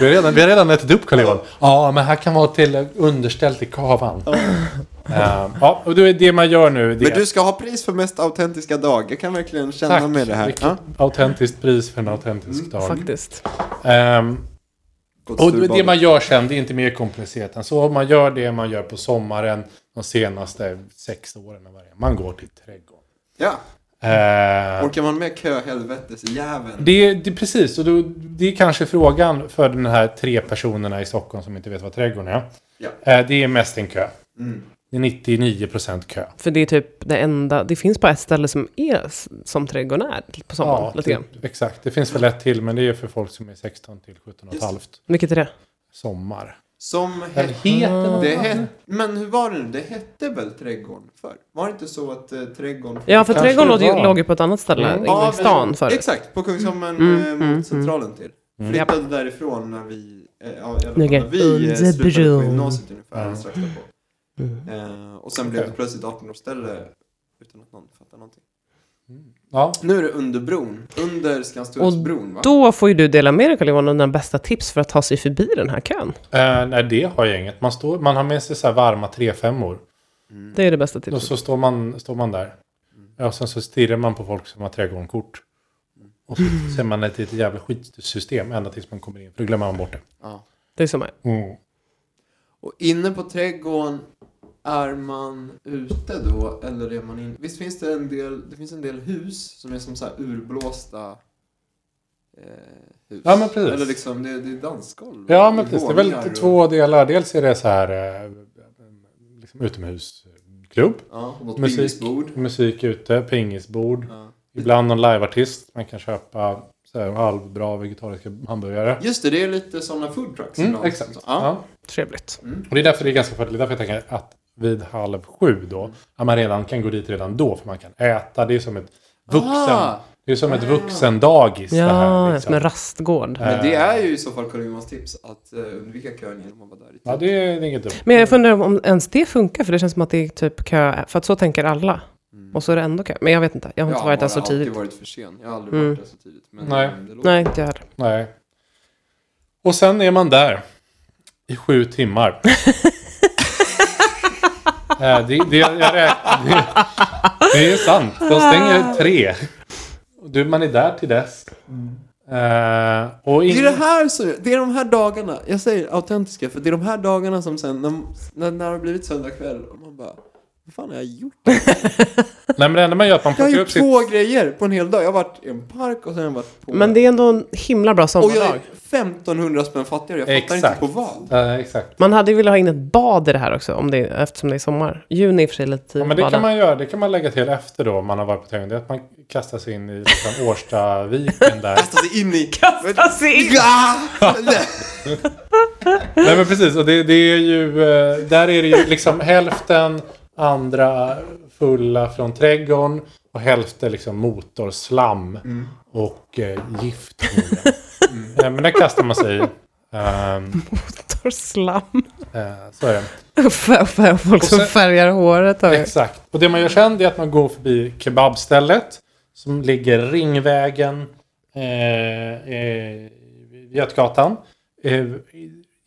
Speaker 2: Vi har redan, vi har redan ätit upp karl Johan. Ja, men här kan vara till underställt i kavan. Ehm, ja, och det är det man gör nu. Det.
Speaker 1: Men du ska ha pris för mest autentiska dag. Jag kan verkligen känna
Speaker 2: Tack.
Speaker 1: med det här.
Speaker 2: Vilket
Speaker 1: Ja.
Speaker 2: autentiskt pris för en autentisk
Speaker 3: Mm.
Speaker 2: dag.
Speaker 3: Faktiskt.
Speaker 2: Ehm,
Speaker 1: Gott
Speaker 2: och det,
Speaker 1: surbadet.
Speaker 2: det man gör sen, det är inte mer komplicerat än så. Man gör det man gör på sommaren de senaste sex åren. av varje. Man går till trädgården.
Speaker 1: Ja,
Speaker 2: Ehm,
Speaker 1: orkar man med köhelvetesjäveln?
Speaker 2: Det, det, precis, och då, det är kanske frågan för de här tre personerna i Stockholm som inte vet vad trädgården är.
Speaker 1: Ja.
Speaker 2: Eh, Det är mest en kö.
Speaker 1: Mm.
Speaker 2: Det är 99% kö.
Speaker 3: För det är typ det enda, det finns bara ett ställe som är s- som trädgården är på sommaren. lite grann.
Speaker 2: typ, exakt. Det finns väl ett till, men det är för folk som är 16 till 17 och ett halvt.
Speaker 3: Vilket är det?
Speaker 2: Sommar.
Speaker 1: Som
Speaker 2: Den
Speaker 1: hette...
Speaker 2: heter
Speaker 3: Ah.
Speaker 2: något
Speaker 1: Det
Speaker 2: annat.
Speaker 1: het, men hur var det nu? Det hette väl trädgården förr? Var det inte så att eh, trädgården...
Speaker 3: Ja, för
Speaker 2: Kanske
Speaker 3: trädgården
Speaker 2: det
Speaker 3: låg ju-
Speaker 2: var.
Speaker 3: låg ju på ett annat ställe
Speaker 2: Mm.
Speaker 3: inne i stan
Speaker 1: men-
Speaker 3: förut.
Speaker 1: Exakt, på Kungsholmen
Speaker 3: Mm,
Speaker 1: eh, mot
Speaker 3: mm,
Speaker 1: centralen till.
Speaker 2: Mm.
Speaker 1: Flyttade därifrån när vi... Eh, ja, i alla fall
Speaker 3: Okej,
Speaker 1: när vi eh,
Speaker 3: under
Speaker 1: slutade på
Speaker 3: bron.
Speaker 1: gymnasiet ungefär.
Speaker 2: Ja.
Speaker 1: Strax därpå.
Speaker 3: Mm.
Speaker 1: Eh, och sen blev det
Speaker 2: Okej.
Speaker 1: plötsligt 18-årsställe utan att någon fattade någonting.
Speaker 2: Ja,
Speaker 1: Nu är det under bron. Under Skanstullsbron va?
Speaker 3: Då får ju du dela med dig Carl-Johan av dina bästa tips för att ta sig förbi den här kön.
Speaker 2: eh, nej det har jag inget. Man, står, man har med sig så här varma trefemmor.
Speaker 3: Det är det bästa
Speaker 2: Och
Speaker 3: tipset.
Speaker 2: Mm. så står man, står man där. Ja, och sen så stirrar man på folk som har trädgårdskort. Och så ser man ett, ett jävla skitsystem ända tills man kommer in. För då glömmer man bort det.
Speaker 1: Ja.
Speaker 3: Det är som jag.
Speaker 2: Mm.
Speaker 1: Och inne på trädgården är man ute då eller är man in... Visst finns det en del, det finns en del hus som är som så här urblåsta eh, hus?
Speaker 2: Ja, men precis.
Speaker 1: Eller liksom, det, det är dansgolv.
Speaker 2: Ja,
Speaker 1: Det
Speaker 2: men
Speaker 1: är
Speaker 2: precis. Det är väl
Speaker 1: våningar
Speaker 2: lite
Speaker 1: och-
Speaker 2: två delar. Dels är det så här eh, liksom utomhusklubb.
Speaker 1: Ja, och något
Speaker 2: Musik.
Speaker 1: pingisbord.
Speaker 2: Musik ute, pingisbord.
Speaker 1: Ja.
Speaker 2: Ibland någon liveartist. Man kan köpa så här, halvbra vegetariska hamburgare.
Speaker 1: Just det, det är lite sådana food trucks
Speaker 2: Mm,
Speaker 1: ibland.
Speaker 2: exakt.
Speaker 1: Ja. Mm.
Speaker 2: Ja.
Speaker 3: Trevligt.
Speaker 2: Och det är därför det är ganska fördel. därför jag tänker att vid halv sju då, att man redan kan gå dit redan då, för man kan äta. Det är som ett vuxen...
Speaker 1: Ah,
Speaker 2: Det är som ett vuxendagis det här.
Speaker 3: Ja,
Speaker 2: Liksom.
Speaker 3: som en rastgård.
Speaker 1: men
Speaker 2: Eh.
Speaker 1: det är ju i så fall Carl-Johans tips att eh, undvika kön genom att vara där i tid.
Speaker 2: Ja, det är inget dumt.
Speaker 3: Men jag funderar om ens det funkar, för det känns som att det är typ kö, för att så tänker alla.
Speaker 1: Mm.
Speaker 3: Och så är det ändå kö. Men jag vet inte, jag har inte varit där så
Speaker 1: Jag har
Speaker 3: tidigt.
Speaker 1: alltid varit för sen. Jag har aldrig
Speaker 3: Mm.
Speaker 1: varit där så tidigt. Men
Speaker 2: Nej.
Speaker 1: eh, det låter-
Speaker 3: Nej, inte jag heller.
Speaker 2: Nej. Och sen är man där. I sju timmar. Eh, det, det, jag räknar, det, det är sant. De stänger tre. Du, man är där till dess. Eh, och
Speaker 1: Det
Speaker 2: in,
Speaker 1: är, det, här som, det är de här dagarna, jag säger autentiska, för det är de här dagarna som sen när, när, när det har blivit söndag kväll och man bara Vad fan har jag gjort?
Speaker 2: nej, men det enda man gör är att man
Speaker 1: Jag har
Speaker 2: plockar upp
Speaker 1: gjort
Speaker 2: sitt...
Speaker 1: två grejer på en hel dag. Jag har varit i en park och sen har jag varit på...
Speaker 3: Men det är ändå en himla bra
Speaker 1: och jag är
Speaker 3: sommardag.
Speaker 1: 1500 spänn fattigare, jag fattar
Speaker 2: Exakt.
Speaker 1: inte på vad.
Speaker 2: Eh, exakt.
Speaker 3: Man hade ju velat ha in ett bad i det här också, om det, eftersom det är sommar. Juni är i och för sig lite tid
Speaker 2: Ja,
Speaker 3: att
Speaker 2: men det
Speaker 3: bada.
Speaker 2: kan man göra. Det kan man lägga till efter då. Om man har varit på tävling. Det är att man kastar sig in i liksom, Årstaviken där.
Speaker 1: Kasta sig in i...
Speaker 3: Alltså, i-
Speaker 1: Ja!
Speaker 2: Nej men precis, och det, det är ju, eh, där är det ju liksom hälften andra fulla från trädgården och hälften liksom motorslam
Speaker 1: Mm.
Speaker 2: och eh, gift. Eh, Men där kastar man sig i. Ehm,
Speaker 3: Tar slam.
Speaker 2: eh, så är det.
Speaker 3: För, för folk som
Speaker 2: sen-
Speaker 3: färgar håret. har jag-
Speaker 2: Exakt. Och det man gör sen det är att man går förbi kebabstället som ligger Ringvägen, eh, eh, Götgatan. Eh,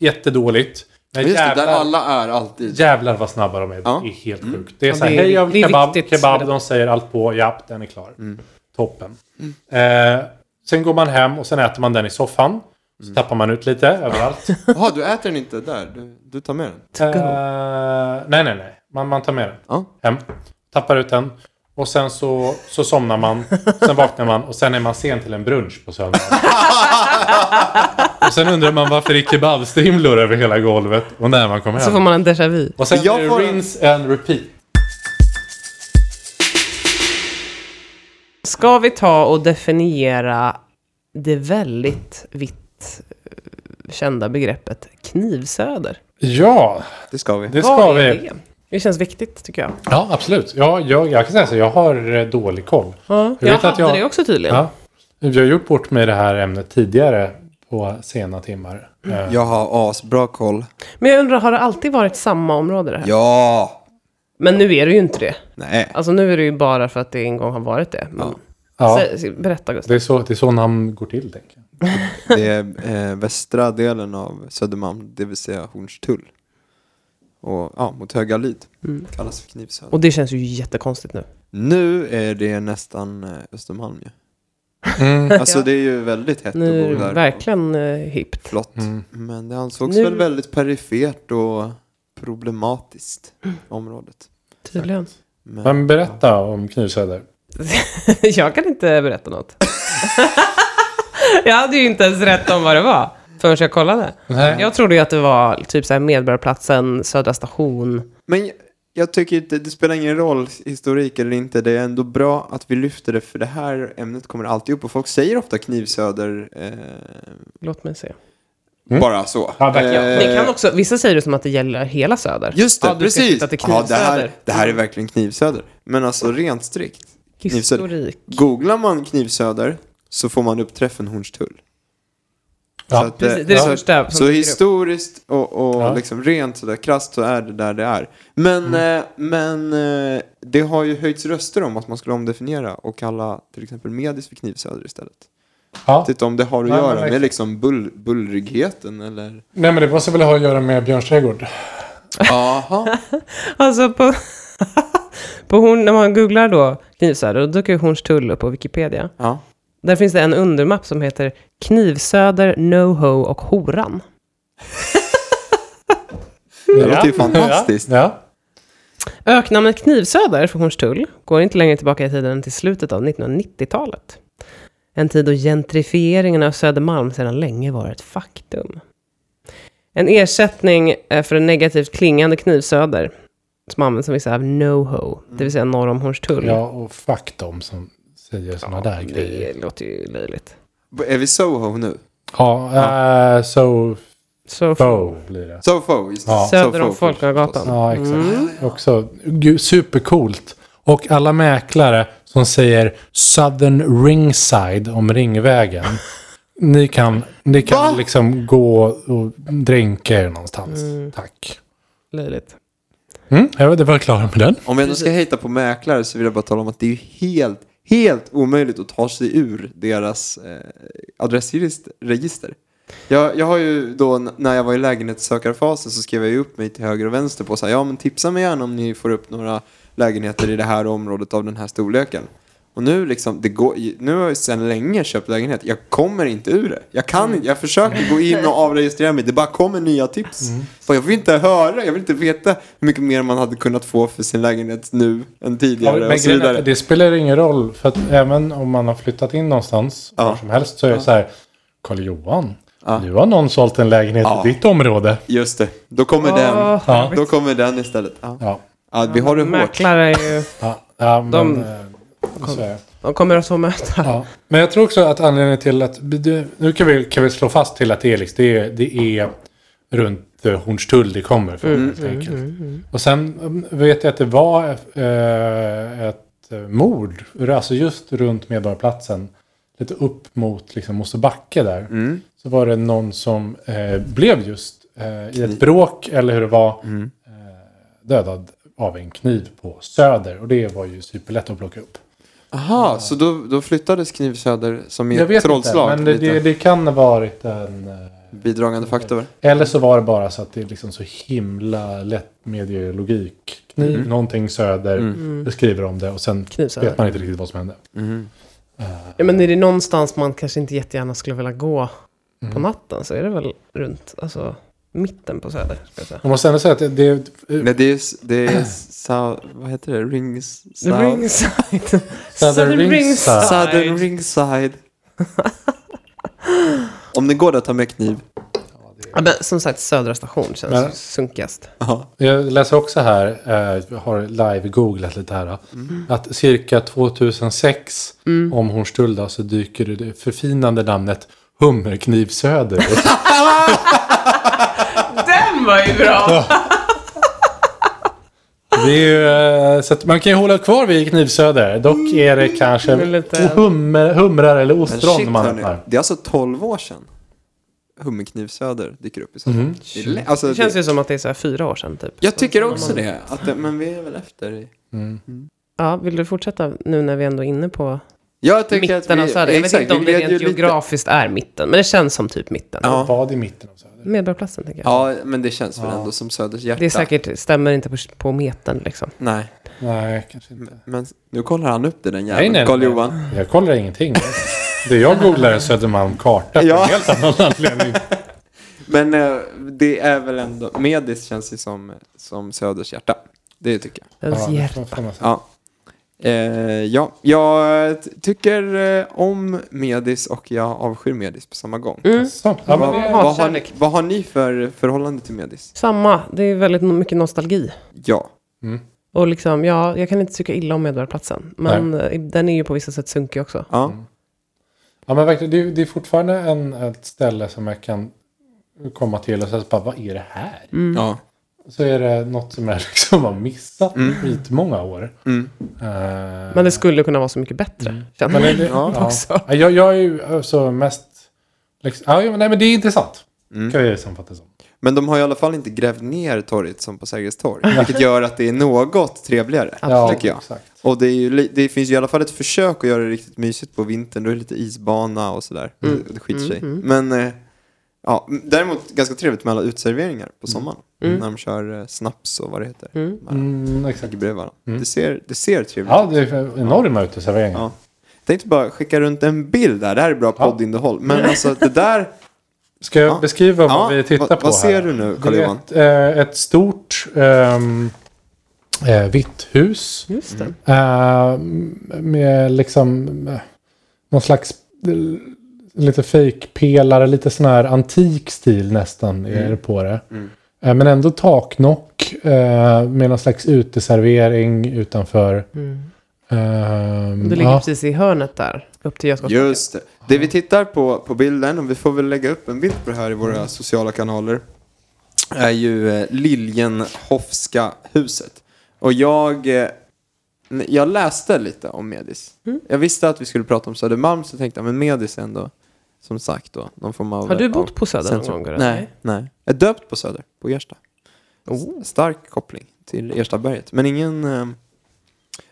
Speaker 2: jättedåligt. Men
Speaker 1: Just det, där
Speaker 2: jävlar-
Speaker 1: alla är alltid.
Speaker 2: Jävlar vad snabba de är.
Speaker 1: Ja. Mm.
Speaker 2: Det är helt sjukt. Det är
Speaker 3: Ja,
Speaker 2: så här,
Speaker 3: det är-
Speaker 2: hej jag
Speaker 3: det
Speaker 2: vill
Speaker 3: är
Speaker 2: kebab,
Speaker 3: viktigt för
Speaker 2: kebab.
Speaker 3: det.
Speaker 2: De säger allt på, ja, den är klar.
Speaker 1: Mm.
Speaker 2: Toppen. Eh, sen går man hem och sen äter man den i soffan. Så
Speaker 1: Mm.
Speaker 2: tappar man ut lite överallt.
Speaker 1: Jaha, du äter den inte där? Du, du tar med den?
Speaker 2: eh, nej, nej, nej. Man, man tar med den
Speaker 1: Ja.
Speaker 2: hem. Tappar ut den. Och sen så, så somnar man. Sen vaknar man och sen är man sen till en brunch på söndagen. och sen undrar man varför det är kebabstrimlor över hela golvet. Och när man kommer hem.
Speaker 3: Så får man en déjà vu.
Speaker 2: Och sen
Speaker 1: Jag
Speaker 2: är det
Speaker 1: får-
Speaker 2: rinse and repeat.
Speaker 3: Ska vi ta och definiera det väldigt vitt eh, kända begreppet knivsöder?
Speaker 2: Ja,
Speaker 1: Det ska vi.
Speaker 2: det ska
Speaker 3: Vad är
Speaker 2: vi.
Speaker 3: Det? det känns viktigt tycker jag.
Speaker 2: Ja, absolut. Ja, jag, jag kan säga så, jag har eh, dålig koll.
Speaker 3: Ja,
Speaker 2: Jag
Speaker 3: jag
Speaker 2: vet att
Speaker 3: hade
Speaker 2: jag-
Speaker 3: det också tydligen.
Speaker 2: Ja. Vi har gjort bort med det här ämnet tidigare på sena timmar. Eh,
Speaker 1: Jag har asbra koll.
Speaker 3: Men jag undrar, har det alltid varit samma område det här?
Speaker 1: Ja!
Speaker 3: Men nu är det ju inte det.
Speaker 1: Nej.
Speaker 3: Alltså nu är det ju bara för att det en gång har varit det. Men...
Speaker 2: Ja,
Speaker 3: Sä- Berätta Gustav.
Speaker 2: det, är så, det är så namn går till, tänker jag.
Speaker 1: Det är eh, västra delen av Södermalm, det vill säga Hornstull. Och ja, mot Högalid. Kallas för Knivsöder.
Speaker 3: Mm. Och det känns ju jättekonstigt nu.
Speaker 1: Nu är det nästan eh, Östermalm ju. Alltså det är ju väldigt hett att
Speaker 3: Nu är
Speaker 1: bo
Speaker 3: det
Speaker 1: där.
Speaker 3: verkligen eh, hippt.
Speaker 1: och Flott. Men det ansågs
Speaker 3: Nu-
Speaker 1: väl väldigt perifert och problematiskt
Speaker 3: Mm.
Speaker 1: området.
Speaker 3: Tydligen.
Speaker 1: Men
Speaker 2: Men berätta om Knivsöder.
Speaker 3: jag kan inte berätta något. jag hade ju inte ens rätt om vad det var förrän jag kollade.
Speaker 2: Nej.
Speaker 3: Jag trodde ju att det var typ så här Medborgarplatsen, Södra station.
Speaker 1: Men jag- jag tycker inte, det spelar ingen roll historik eller inte. Det är ändå bra att vi lyfter det för det här ämnet kommer alltid upp och folk säger ofta knivsöder. Eh,
Speaker 3: Låt mig se.
Speaker 1: Bara så.
Speaker 2: Mm. Ja, verkligen.
Speaker 1: Eh,
Speaker 3: Det kan också, vissa säger det som att det gäller hela söder.
Speaker 1: Just det,
Speaker 3: Ja, du ska
Speaker 1: precis.
Speaker 3: flytta till
Speaker 1: ja, det, här,
Speaker 3: Knivsöder.
Speaker 1: det här är verkligen knivsöder. Men alltså rent strikt. Knivsöder.
Speaker 3: Historik.
Speaker 1: Googlar man knivsöder så får man upp Träffenhornstull.
Speaker 2: Ja,
Speaker 1: så att, eh,
Speaker 3: Precis, det är det
Speaker 1: så-
Speaker 3: första som
Speaker 1: Så
Speaker 3: dyker upp.
Speaker 1: historiskt och, och
Speaker 2: Ja.
Speaker 1: liksom rent sådär krasst så är det där det är. Men,
Speaker 3: Mm.
Speaker 1: eh, men eh, det har ju höjts röster om att man skulle omdefiniera och kalla till exempel medis för knivsöder istället.
Speaker 2: Ja.
Speaker 1: Jag vet inte om det har att
Speaker 2: Nej, men
Speaker 1: göra med
Speaker 2: verkligen.
Speaker 1: liksom bull, bullrigheten eller...
Speaker 2: Nej, men det måste väl ha att göra med Björns trädgård.
Speaker 1: Jaha.
Speaker 3: Alltså på, på horn, när man googlar då Knivsöder, då dyker ju Hornstull upp på Wikipedia.
Speaker 1: Ja.
Speaker 3: Där finns det en undermapp som heter Knivsöder, NoHo och Horan.
Speaker 1: Det låter ju fantastiskt.
Speaker 2: Ja. Ja.
Speaker 3: Öknamnet Knivsöder för Hornstull går inte längre tillbaka i tiden än till slutet av 1990-talet. En tid då gentrifieringen av Södermalm sedan länge var ett faktum. En ersättning eh, för en negativt klingande Knivsöder, som används som vissa av NoHo, det vill säga norr om Hornstull.
Speaker 2: ja, och fuck dem som säger sådana där grejer.
Speaker 3: Mm. Det låter ju löjligt.
Speaker 1: Är vi Soho nu?
Speaker 2: Ja, eh, so
Speaker 3: Så
Speaker 2: fo blir det.
Speaker 1: Soho, just det.
Speaker 2: Ja.
Speaker 3: Söder
Speaker 1: Soho
Speaker 3: om Folkungagatan.
Speaker 2: Ja, exakt.
Speaker 1: Mm.
Speaker 2: Också gud, supercoolt. Och alla mäklare som säger Southern Ringside om Ringvägen. ni kan, ni
Speaker 1: Va?
Speaker 2: kan liksom gå och dränka er någonstans.
Speaker 1: Mm.
Speaker 2: Tack.
Speaker 3: Löjligt.
Speaker 2: Mm, jag vet inte vad jag klarar med den.
Speaker 1: Om jag ändå ska hejta på mäklare så vill jag bara tala om att det är ju helt, helt omöjligt att ta sig ur deras eh, adressregister. Jag, jag har ju då n- när jag var i lägenhetssökarfasen så skrev jag ju upp mig till höger och vänster på så här, ja men tipsa mig gärna om ni får upp några lägenheter i det här området av den här storleken. Och nu liksom, det går, nu har jag sedan länge köpt lägenhet, jag kommer inte ur det. Jag
Speaker 2: Mm.
Speaker 1: kan inte, jag försöker gå in och avregistrera mig, det bara kommer nya tips.
Speaker 2: Mm.
Speaker 1: Fan, Jag vill inte höra, jag vill inte veta hur mycket mer man hade kunnat få för sin lägenhet nu än
Speaker 2: Ja,
Speaker 1: tidigare
Speaker 2: men
Speaker 1: och så
Speaker 2: grejen är att
Speaker 1: vidare.
Speaker 2: det spelar ingen roll. För att även om man har flyttat in någonstans,
Speaker 1: Ja.
Speaker 2: var som helst, så är det så här. Karl-Johan,
Speaker 1: Ja.
Speaker 2: nu har någon sålt en lägenhet
Speaker 1: Ja.
Speaker 2: i ditt område.
Speaker 1: Just det, då kommer den.
Speaker 3: Åh,
Speaker 2: Ja.
Speaker 1: Då kommer den istället. Ja.
Speaker 2: Ja,
Speaker 1: Ja, vi har det hårt.
Speaker 3: Mäklare är ju...
Speaker 2: ja, ja men,
Speaker 3: De-
Speaker 2: eh, så är det.
Speaker 3: De kommer att få möta.
Speaker 2: Ja. Men jag tror också att anledningen till att... Nu kan vi, kan vi slå fast till att det är, liksom, det är, det är runt eh, Hornstull det kommer från
Speaker 1: Mm.
Speaker 2: helt enkelt. Och sen mm, vet jag att det var eh, ett eh, mord, alltså just runt Medborgarplatsen, lite upp mot liksom, Mosebacke där.
Speaker 1: Mm.
Speaker 2: Så var det någon som eh, blev just eh, i ett bråk, eller hur det var, eh, dödad av en kniv på Söder. Och det var ju superlätt att plocka upp.
Speaker 1: Aha, så då, då flyttades Knivsöder som i
Speaker 2: Jag
Speaker 1: ett
Speaker 2: vet
Speaker 1: trollslag.
Speaker 2: inte, men det,
Speaker 1: lite
Speaker 2: det, det kan ha varit en... eh,
Speaker 1: Bidragande faktor.
Speaker 2: Eller så var det bara så att det är liksom så himla lätt medielogik.
Speaker 1: Mm.
Speaker 2: Kniv, någonting söder, beskriver om det och sen
Speaker 3: Knivsöder.
Speaker 2: vet man inte riktigt vad som hände.
Speaker 1: Mm.
Speaker 3: Ja, men är det någonstans man kanske inte jättegärna skulle vilja gå på
Speaker 2: Mm.
Speaker 3: natten så är det väl runt alltså, mitten på Söder. Ska jag säga.
Speaker 2: Jag måste ändå säga att det, det,
Speaker 1: Nej, det är, s- det är sa, vad heter det? Rings, sa,
Speaker 3: Ringside.
Speaker 2: Southern Ringside.
Speaker 1: Southern ringside. Om det går att ta med kniv.
Speaker 3: Ja, men, som sagt, Södra station känns
Speaker 2: Men-
Speaker 3: sunkigast.
Speaker 1: Ja.
Speaker 2: jag läser också här, eh, jag har live-googlat lite här.
Speaker 1: Mm.
Speaker 2: Att cirka 2006 om Hornstull då, så dyker det förfinande namnet Hummerknivsöder upp.
Speaker 3: Den var ju bra!
Speaker 2: Det är ju, eh, så att man kan ju hålla kvar vid knivsöder. Dock är Mm. det kanske
Speaker 3: Men lite-
Speaker 2: hummer, humrar eller
Speaker 1: Men
Speaker 2: ostron
Speaker 1: shit,
Speaker 2: man
Speaker 1: hörni,
Speaker 2: öppnar.
Speaker 1: det är alltså 12 år sedan Hummerknivsöder dyker upp i så fall.
Speaker 2: Mhm.
Speaker 1: Det är lä- Alltså,
Speaker 3: Det känns
Speaker 1: det,
Speaker 3: ju som att det är så här fyra år sedan typ.
Speaker 1: jag tycker också det, att det, men vi är väl efter. i-
Speaker 3: Ja, vill du fortsätta nu när vi ändå är inne på
Speaker 1: Jag tycker att vi,
Speaker 3: mitten av Söder? Jag vet
Speaker 1: exakt,
Speaker 3: inte om
Speaker 1: vi
Speaker 3: det
Speaker 1: leder ju
Speaker 3: rent
Speaker 1: lite-
Speaker 3: geografiskt är mitten, men det känns som typ mitten.
Speaker 1: Ja.
Speaker 2: Vad i mitten av söder?
Speaker 3: Medborgarplatsen tänker jag.
Speaker 1: Ja, men det känns väl ändå som Söders hjärta.
Speaker 3: Det är säkert, stämmer inte på, på metern liksom.
Speaker 1: Nej,
Speaker 2: Nej, kanske inte.
Speaker 1: men nu kollar han upp det den
Speaker 2: Nej, nej,
Speaker 1: jäveln.
Speaker 2: nej.
Speaker 1: Karl-Johan.
Speaker 2: Jag kollar ingenting. Det jag googlar är Södermalm
Speaker 1: Ja.
Speaker 2: karta. Ja. helt annan anledning.
Speaker 1: Men eh, det är väl ändå, Medis känns ju som, som Söders hjärta. Det tycker jag.
Speaker 3: Ja,
Speaker 2: det får- får man säga.
Speaker 1: Ja. Eh, ja, jag t- tycker eh, om Medis och jag avskyr Medis på samma gång.
Speaker 3: Mm.
Speaker 2: Så, ja, men
Speaker 1: Vad,
Speaker 2: det,
Speaker 1: vad, har ni,
Speaker 3: Hatkärlek.
Speaker 1: vad har ni för förhållande till Medis?
Speaker 3: Samma, det är väldigt no- mycket nostalgi.
Speaker 1: Ja.
Speaker 2: Mm.
Speaker 3: Och liksom, ja, jag kan inte tycka illa om Medborgarplatsen. Men eh, den är ju på vissa sätt sunkig också.
Speaker 1: ja.
Speaker 2: ja, men verkligen, det, är- det är fortfarande en, ett ställe som jag kan komma till och så här, bara, vad är det här?
Speaker 3: Mm.
Speaker 1: Ja.
Speaker 2: Så är det något som jag liksom har missat
Speaker 1: Mm.
Speaker 2: skitmånga många år.
Speaker 1: Mm.
Speaker 2: Eh,
Speaker 3: Men det skulle kunna vara så mycket bättre. Känner
Speaker 2: Men är
Speaker 3: jag.
Speaker 2: det, ja.
Speaker 3: också.
Speaker 2: Ja, Jag, jag är ju alltså mest... Liksom, ja, ja, nej, men det är intressant.
Speaker 1: Mm.
Speaker 2: Kan jag ju sammanfatta det som.
Speaker 1: Men de har i alla fall inte grävt ner torget som på Sergels torg. Vilket gör att det är något trevligare.
Speaker 3: Absolut.
Speaker 1: Tycker jag.
Speaker 2: Exakt.
Speaker 1: Och det, är ju, li- det finns ju i alla fall ett försök att göra det riktigt mysigt på vintern. Då är det lite isbana och sådär.
Speaker 3: Mm.
Speaker 1: Det, det skiter
Speaker 3: Mm,
Speaker 1: sig.
Speaker 3: mm.
Speaker 1: Men eh, ja, m- däremot ganska trevligt med alla utserveringar på sommaren.
Speaker 3: Mm.
Speaker 1: När de kör eh, snaps och vad det heter.
Speaker 3: Mm.
Speaker 2: Mm, exakt.
Speaker 1: Ligger bredvid varandra.
Speaker 2: Mm.
Speaker 1: Det ser, det ser trevligt ut.
Speaker 2: Ja, det är enorma uteserveringar.
Speaker 1: Ja. Tänkte bara skicka runt en bild där. Det här är bra
Speaker 2: Ja.
Speaker 1: poddinnehåll. Men alltså det där.
Speaker 2: Ska jag
Speaker 1: Ja.
Speaker 2: beskriva
Speaker 1: Ja,
Speaker 2: vad vi tittar
Speaker 1: vad-
Speaker 2: på
Speaker 1: vad
Speaker 2: här?
Speaker 1: ser du nu, Carl
Speaker 2: Det är
Speaker 1: Johan?
Speaker 2: ett, eh, ett stort ehm, eh, vitt hus.
Speaker 3: Just det.
Speaker 2: Eh, med liksom eh, någon slags eh, lite fake-pelare, lite sån här antik stil nästan är det på det.
Speaker 1: Mm.
Speaker 2: Eh, men ändå taknock eh, med någon slags uteservering utanför.
Speaker 3: Mm.
Speaker 2: Ehm,
Speaker 3: Du ligger
Speaker 2: ja.
Speaker 3: precis i hörnet där, upp till Götgatsbacken.
Speaker 1: Just det. Det vi tittar på på bilden, och vi får väl lägga upp en bild på det här i
Speaker 3: Mm.
Speaker 1: våra sociala kanaler, är ju eh, Liljenhofska huset. Och jag, eh, n- jag läste lite om Medis.
Speaker 3: Mm.
Speaker 1: Jag visste att vi skulle prata om Södermalm, så tänkte jag, men Medis är ändå, som sagt då, någon form av... eh,
Speaker 3: Har du
Speaker 1: av
Speaker 3: bott på Söder någon
Speaker 1: centrum.
Speaker 3: gång? Gurra?
Speaker 1: Nej, nej. Jag är döpt på Söder, på Ersta.
Speaker 3: Oh.
Speaker 1: Stark koppling till Erstaberget. Men ingen... Eh,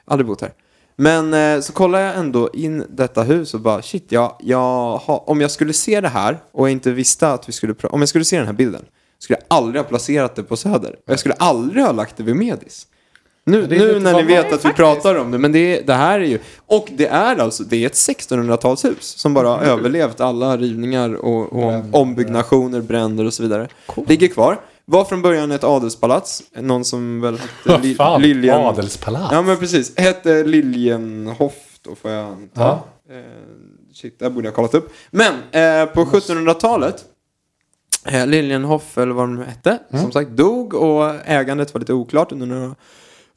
Speaker 1: aldrig bott här. Men eh, så kollar jag ändå in detta hus och bara shit, jag, jag har, om jag skulle se det här och jag inte visste att vi skulle... pra- Om jag skulle se den här bilden skulle jag aldrig ha placerat det på Söder. Och Jag skulle aldrig ha lagt det vid Medis. Nu,
Speaker 2: det är
Speaker 1: nu
Speaker 2: lite
Speaker 1: när ni
Speaker 2: vad man-
Speaker 1: vet att vi pratar om det, men det, det här är ju... Och det är alltså, det är ett 1600-talshus som bara har överlevt alla rivningar och, och om- ombyggnationer, bränder och så vidare. Ligger kvar. Var från början ett adelspalats. Någon som väl hette
Speaker 2: Vad
Speaker 1: Li-
Speaker 2: fan,
Speaker 1: Liljen...
Speaker 2: adelspalats.
Speaker 1: Ja men precis. Hette Liljenhoff då får jag anta.
Speaker 2: Ja.
Speaker 1: Eh, shit, det här borde jag ha kollat upp. Men eh, på 1700-talet. Eh, Liljenhoff eller vad de nu hette.
Speaker 2: Mm.
Speaker 1: Som sagt dog och ägandet var lite oklart under några,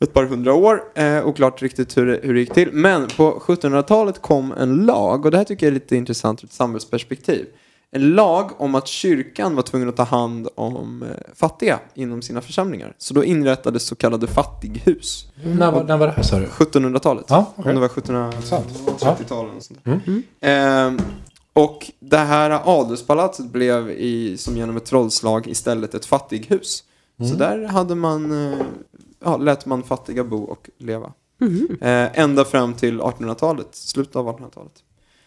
Speaker 1: ett par hundra år. Eh, oklart riktigt hur, det- hur det gick till. Men på 1700-talet kom en lag. Och det här tycker jag är lite intressant ur ett samhällsperspektiv. En lag om att kyrkan var tvungen att ta hand om eh, fattiga inom sina församlingar. Så då inrättades så kallade fattighus.
Speaker 2: När, var, när var det här sa du?
Speaker 1: 1700-talet.
Speaker 2: Ja, okej. Mm.
Speaker 1: Om det var
Speaker 2: Intressant.
Speaker 1: 1730-talet. och sånt där. Ehm, och det här adelspalatset blev i, som genom ett trollslag istället ett fattighus.
Speaker 2: Mm.
Speaker 1: Så där hade man, eh, ja, lät man fattiga bo och leva.
Speaker 2: Mm-hmm.
Speaker 1: Eh, ända fram till 1800-talet, slutet av 1800-talet.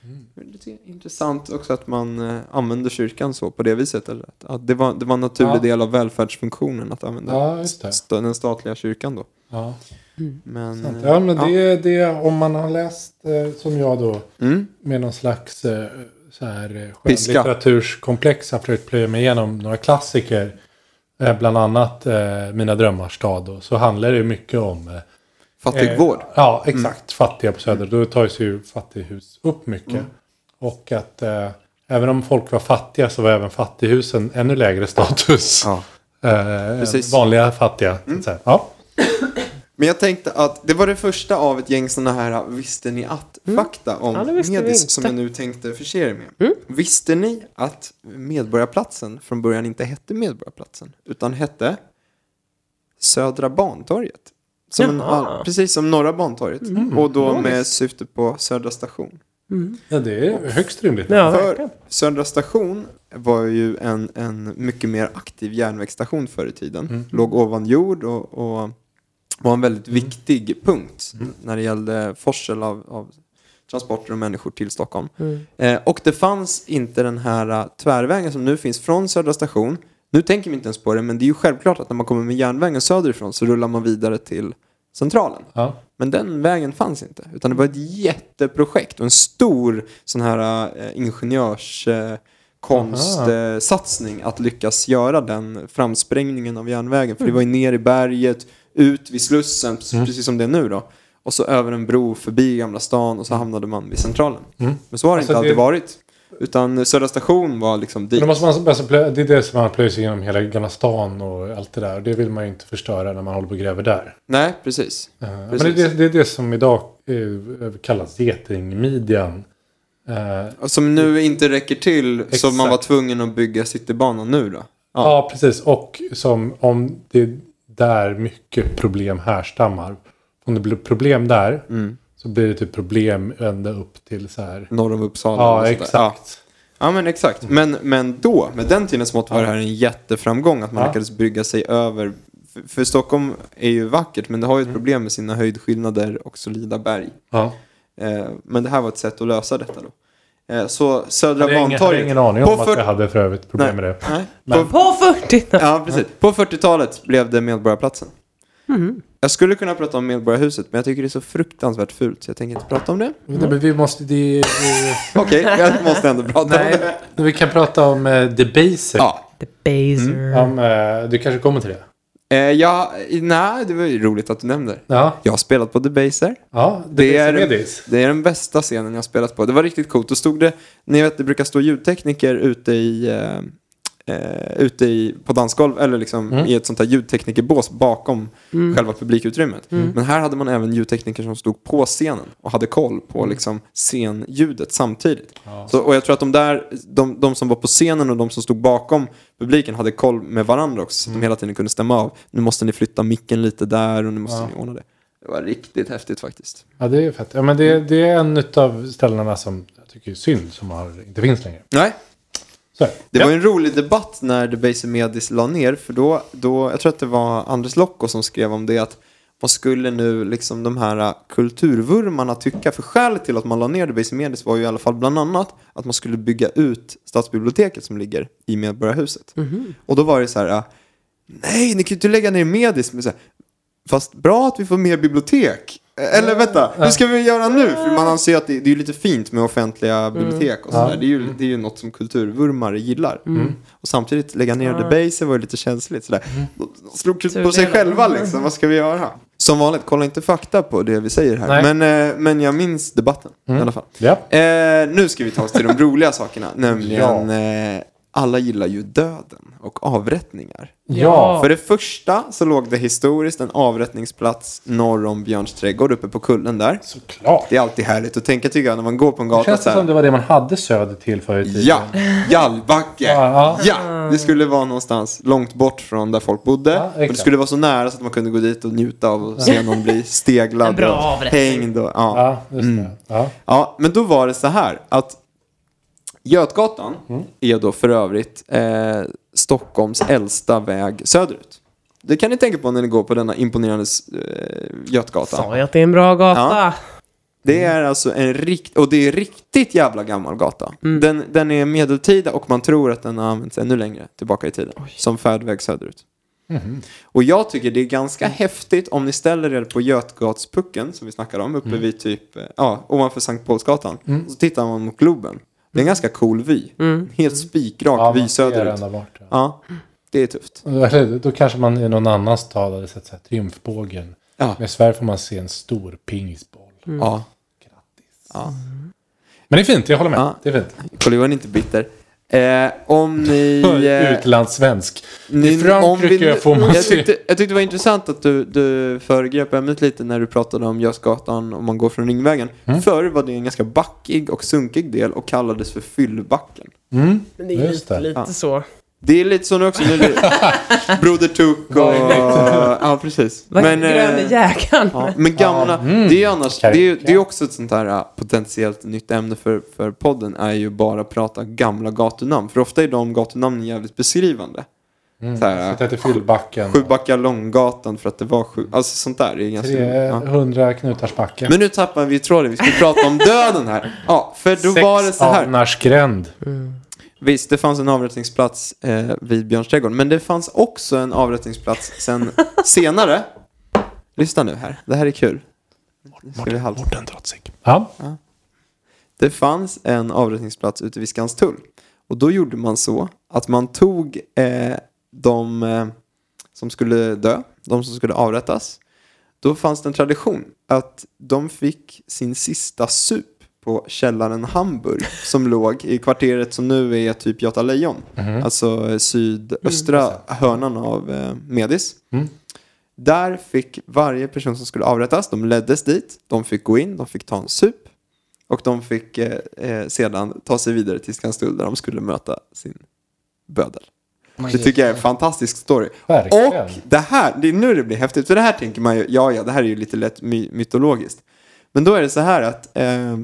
Speaker 2: Mm.
Speaker 1: Det är lite intressant också att man eh, använder kyrkan så på det viset. Eller att, att det, var, det var en naturlig
Speaker 2: Ja.
Speaker 1: del av välfärdsfunktionen att använda
Speaker 2: Ja, just det.
Speaker 1: st- den statliga kyrkan då.
Speaker 2: Ja.
Speaker 1: Men,
Speaker 2: Sant.
Speaker 1: eh,
Speaker 2: Ja, men det är det om man har läst eh, som jag då
Speaker 1: Mm.
Speaker 2: med någon slags eh, så här eh,
Speaker 1: Piska.
Speaker 2: skönlitteraturskomplex har försökt plöja mig igenom några klassiker. Eh, bland annat eh, Mina drömmars stad och så handlar det ju mycket om eh,
Speaker 1: Fattigvård.
Speaker 2: Eh, ja,
Speaker 1: Mm.
Speaker 2: exakt. Fattiga på Söder. Då tas ju fattighus upp mycket.
Speaker 1: Mm.
Speaker 2: Och att eh, även om folk var fattiga så var även fattighusen ännu lägre status.
Speaker 1: Ja.
Speaker 2: Eh,
Speaker 1: Precis. Mm.
Speaker 2: vanliga fattiga. Så att säga. Ja.
Speaker 1: Men jag tänkte att det var det första av ett gäng sådana här visste ni att-fakta
Speaker 3: Mm. Ja,
Speaker 1: om
Speaker 3: det visste vi
Speaker 1: Medis
Speaker 3: inte. Mm.
Speaker 1: som jag nu tänkte förse er med. Visste ni att Medborgarplatsen från början inte hette Medborgarplatsen utan hette Södra Bantorget? Som en,
Speaker 3: Jaha. Mm.
Speaker 1: all- precis som Norra Bantorget. Och då med syfte på Södra station.
Speaker 2: ja, det är högst rimligt.
Speaker 3: Ja,
Speaker 1: För
Speaker 3: verkligen.
Speaker 1: Södra station var ju en, en mycket mer aktiv järnvägsstation förr i tiden. Låg ovan jord och, och var en väldigt viktig punkt när det gällde forsel av, av transporter och människor till Stockholm. Eh, och det fanns inte den här eh, tvärvägen som nu finns från Södra station. Nu tänker vi inte ens på det, men det är ju självklart att när man kommer med järnvägen söderifrån så rullar man vidare till Centralen.
Speaker 2: Ja.
Speaker 1: Men den vägen fanns inte. Utan det var ett jätteprojekt och en stor sån här eh,
Speaker 2: Aha.
Speaker 1: ingenjörskonstsatsning att lyckas göra den framsprängningen av järnvägen. För
Speaker 2: Mm.
Speaker 1: det var ju ner i berget, ut vid Slussen, precis- precis som det är nu då. Och så över en bro förbi Gamla stan och så hamnade man vid Centralen. Men så har det
Speaker 2: Mm. Alltså,
Speaker 1: inte alltid
Speaker 2: det-
Speaker 1: varit. Utan Södra station var liksom
Speaker 2: Men
Speaker 1: dit.
Speaker 2: då måste man, alltså, plö- det är det som man plöjer sig genom hela Gamla stan och allt det där. Och det vill man ju inte förstöra när man håller på och gräver där.
Speaker 1: Nej, precis.
Speaker 2: Eh, Men det,
Speaker 1: Precis.
Speaker 2: är det, det är det som idag eh, kallas getingmidjan. Eh,
Speaker 1: Som nu inte räcker till så
Speaker 2: Exakt.
Speaker 1: man var tvungen att bygga Citybanan nu då. Ja.
Speaker 2: Ja, precis. Och som om det är där mycket problem härstammar. Om det blir problem där
Speaker 1: Mm.
Speaker 2: så blir det typ problem ända upp till så här.
Speaker 1: Norr om Uppsala. och
Speaker 2: Ja,
Speaker 1: sådär.
Speaker 2: exakt.
Speaker 1: Ja men exakt.
Speaker 2: Mm.
Speaker 1: Men, men då, med den tidens mått var det här en jätteframgång att man
Speaker 2: Ja.
Speaker 1: lyckades brygga sig över. För, för Stockholm är ju vackert men det
Speaker 2: Mm.
Speaker 1: har ju ett problem med sina höjdskillnader och solida berg.
Speaker 2: Ja.
Speaker 1: Eh, men det här var ett sätt att lösa detta då. Eh, så Södra
Speaker 2: Jag hade ingen, hade
Speaker 1: Bantorget.
Speaker 2: ingen aning
Speaker 1: På
Speaker 2: om att
Speaker 1: fyrt-
Speaker 2: jag hade för övrigt problem med det.
Speaker 1: Nej.
Speaker 2: Men-
Speaker 1: På,
Speaker 3: På 40
Speaker 1: ja, precis. På 40-talet blev det Medborgarplatsen.
Speaker 3: Mhm.
Speaker 1: Jag skulle kunna prata om Medborgarhuset men jag tycker det är så fruktansvärt fult så jag tänker inte prata om det.
Speaker 2: Nej, men vi måste... Det, det,
Speaker 1: Okej, jag måste ändå prata om det.
Speaker 2: nej, vi kan prata om eh, the basic.
Speaker 1: Ja.
Speaker 3: The Baser.
Speaker 1: Mm.
Speaker 2: Om, eh, du kanske kommer till det?
Speaker 1: Eh, ja, nej, det var ju roligt att du nämnde det.
Speaker 2: Ja.
Speaker 1: Jag har spelat på The Baser.
Speaker 2: ja the
Speaker 1: Det
Speaker 2: basic
Speaker 1: är-
Speaker 2: medis.
Speaker 1: Det är den bästa scenen jag har spelat på. Det var riktigt coolt. Då stod det, ni vet det brukar stå ljudtekniker ute i, eh, eh, ute i på dansgolv eller liksom i ett sånt här ljudteknikerbås bakom själva publikutrymmet. Men här hade man även ljudtekniker som stod på scenen och hade koll på liksom scenljudet samtidigt. Så, och jag tror att de där, de, de som var på scenen och de som stod bakom publiken hade koll med varandra också. Så att de hela tiden kunde stämma av. Nu måste ni flytta micken lite där och nu måste
Speaker 2: Ja.
Speaker 1: ni ordna det. Det var riktigt häftigt faktiskt.
Speaker 2: Ja, det är fett. Ja, men
Speaker 1: Mm.
Speaker 2: det, det är en av ställena som jag tycker är synd som har, inte finns längre.
Speaker 1: Nej,
Speaker 2: Så är
Speaker 1: Det
Speaker 2: ja.
Speaker 1: var ju en rolig debatt när Debaser Medis la ner för då, då, jag tror att det var Anders Locko som skrev om det att vad skulle nu liksom de här äh, kulturvurmarna tycka? För skälet till att man la ner Debaser Medis var ju i alla fall bland annat att man skulle bygga ut stadsbiblioteket som ligger i Medborgarhuset. Och då var det så här, äh, nej ni kan ju inte lägga ner Medis. Men så här, Fast bra att vi får mer bibliotek. Eh, Eller vänta, hur ska vi göra nu? För man anser ju att det, det är ju lite fint med offentliga bibliotek och sådär.
Speaker 2: Mm. Ja. Mm.
Speaker 1: Det, är ju, det är ju något som kulturvurmare gillar. Och samtidigt lägga ner
Speaker 3: Ja.
Speaker 1: Debaser var ju lite känsligt sådär.
Speaker 2: Mm.
Speaker 1: De de slog
Speaker 3: Tur
Speaker 1: på sig
Speaker 3: det.
Speaker 1: själva liksom, vad ska vi göra? Som vanligt, kolla inte fakta på det vi säger här.
Speaker 2: Nej. Mm.
Speaker 1: Men, eh, men jag minns debatten i alla fall.
Speaker 2: Ja.
Speaker 1: Eh, nu ska vi ta oss till de roliga sakerna, nämligen eh, alla gillar ju döden och avrättningar.
Speaker 2: Ja.
Speaker 1: För det första så låg det historiskt en avrättningsplats norr om Björns trädgård uppe på kullen där.
Speaker 2: Såklart.
Speaker 1: Det är alltid härligt att tänka tycker jag när man går på en
Speaker 2: Det
Speaker 1: gata
Speaker 2: känns
Speaker 1: så
Speaker 2: det som
Speaker 1: här.
Speaker 2: det var det man hade söder till förr i tiden.
Speaker 1: Ja, Jallbacke.
Speaker 2: Ja,
Speaker 1: Ja, det skulle vara någonstans långt bort från där folk bodde.
Speaker 2: Ja,
Speaker 1: men det
Speaker 2: exakt.
Speaker 1: skulle vara så nära så att man kunde gå dit och njuta av och se någon bli
Speaker 3: En
Speaker 1: steglad
Speaker 3: bra
Speaker 1: och
Speaker 3: avrättning.
Speaker 1: hängd. Och, ja.
Speaker 2: Ja, just det. Ja.
Speaker 1: Ja, men då var det så här att Götgatan är då för övrigt eh, Stockholms äldsta väg söderut. Det kan ni tänka på när ni går på denna imponerande eh, Götgatan.
Speaker 3: Sa jag att det är en bra gata?
Speaker 1: Det
Speaker 2: Mm.
Speaker 1: är alltså en rikt och det är riktigt jävla gammal gata.
Speaker 2: Mm.
Speaker 1: Den, den är medeltida och man tror att den har använts ännu längre tillbaka i tiden. Som färdväg söderut.
Speaker 2: Mhm.
Speaker 1: Och jag tycker det är ganska häftigt om ni ställer er på Götgatspucken som vi snackade om
Speaker 2: Mm.
Speaker 1: uppe vid typ, eh, ja, ovanför Sankt Paulsgatan. Och så tittar man mot Globen. Det är en ganska cool vy. En Helt spikrak
Speaker 2: Mm. Ja,
Speaker 1: vy
Speaker 2: man ser
Speaker 1: söderut.
Speaker 2: den där borta.
Speaker 1: Ja, det är tufft.
Speaker 2: Eller, då kanske man i någon annan stad hade sett så här, triumfbågen.
Speaker 1: Ja. Mm.
Speaker 2: Men i Sverige får man se en stor pingisboll.
Speaker 1: Ja.
Speaker 2: Grattis.
Speaker 1: Ja.
Speaker 2: Men det är fint, jag håller med.
Speaker 1: Ja.
Speaker 2: Det är fint.
Speaker 1: Kollegan är inte bitter. Eh, om ni... eh,
Speaker 2: Utlandssvensk. I
Speaker 1: om
Speaker 2: Frankrike
Speaker 1: vi nu-
Speaker 2: får man
Speaker 1: jag,
Speaker 2: se.
Speaker 1: tyckte, jag tyckte det var intressant att du, du föregrep ämnet lite när du pratade om Götgatan om man går från Ringvägen.
Speaker 2: Mm.
Speaker 1: Förr var det en ganska backig och sunkig del och kallades för Fyllbacken.
Speaker 2: Mm.
Speaker 3: Men det är ju
Speaker 2: Just
Speaker 3: lite,
Speaker 2: det.
Speaker 3: lite så.
Speaker 1: Det är lite så nu också. Nu är det Broder Tuck och... ja, precis.
Speaker 3: Vad
Speaker 1: Men,
Speaker 3: grön
Speaker 1: eh,
Speaker 3: i jäkaren.
Speaker 1: Ja, men gamla,
Speaker 2: Mm.
Speaker 1: det är ju annars, det
Speaker 2: Okej.
Speaker 1: är, ju- det är ju också ett sånt här äh, potentiellt nytt ämne för, för podden är ju bara att prata gamla gatunamn. För ofta är de gatunamnen jävligt beskrivande.
Speaker 2: Mm.
Speaker 1: Så här,
Speaker 2: Sitta till Fyllbacken.
Speaker 1: Sjubacka långgatan för att det var sju, alltså sånt där. Det är ganska, ja.
Speaker 2: 300 knutarsbacke.
Speaker 1: Men nu tappar vi tråden, vi skulle prata om döden här. Ja, för då var det så här.
Speaker 2: Alnarsgränd.
Speaker 1: Visst, det fanns en avrättningsplats eh, vid Björns trädgård, men det fanns också en avrättningsplats sen senare. Lyssna nu här, det här är kul. Nu ska vi halta.
Speaker 2: Mårten Trotzig. Ja.
Speaker 1: Det fanns en avrättningsplats ute vid Skanstull. Och då gjorde man så att man tog eh, de eh, som skulle dö, de som skulle avrättas. Då fanns det en tradition att de fick sin sista sup på källaren Hamburg som låg i kvarteret som nu är typ Göta Lejon. Alltså eh, sydöstra hörnan av eh, Medis. Där fick varje person som skulle avrättas, de leddes dit, de fick gå in, de fick ta en sup. Och de fick eh, eh, sedan ta sig vidare till Skanstull där de skulle möta sin bödel. Det tycker jag är en fantastisk story.
Speaker 2: Verkligen.
Speaker 1: Och det här, det är nu det blir häftigt. För det här tänker man ju, ja ja, det här är ju lite lätt my mytologiskt. Men då är det så här att eh,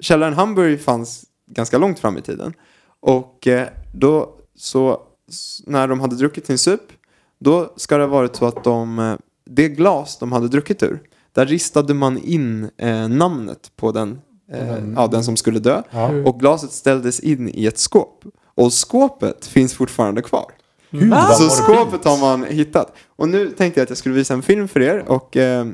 Speaker 1: källaren Hamburg fanns ganska långt fram i tiden. Och eh, då så, s- när de hade druckit sin sup, då ska det ha varit så att de, eh, det glas de hade druckit ur, där ristade man in eh, namnet på den, eh,
Speaker 2: Mm.
Speaker 1: ja, den som skulle dö.
Speaker 2: Ja.
Speaker 1: Och glaset ställdes in i ett skåp. Och skåpet finns fortfarande kvar.
Speaker 2: Gud, vad
Speaker 1: Så
Speaker 2: var det
Speaker 1: skåpet
Speaker 2: fint.
Speaker 1: har man hittat. Och nu tänkte jag att jag skulle visa en film för er och eh,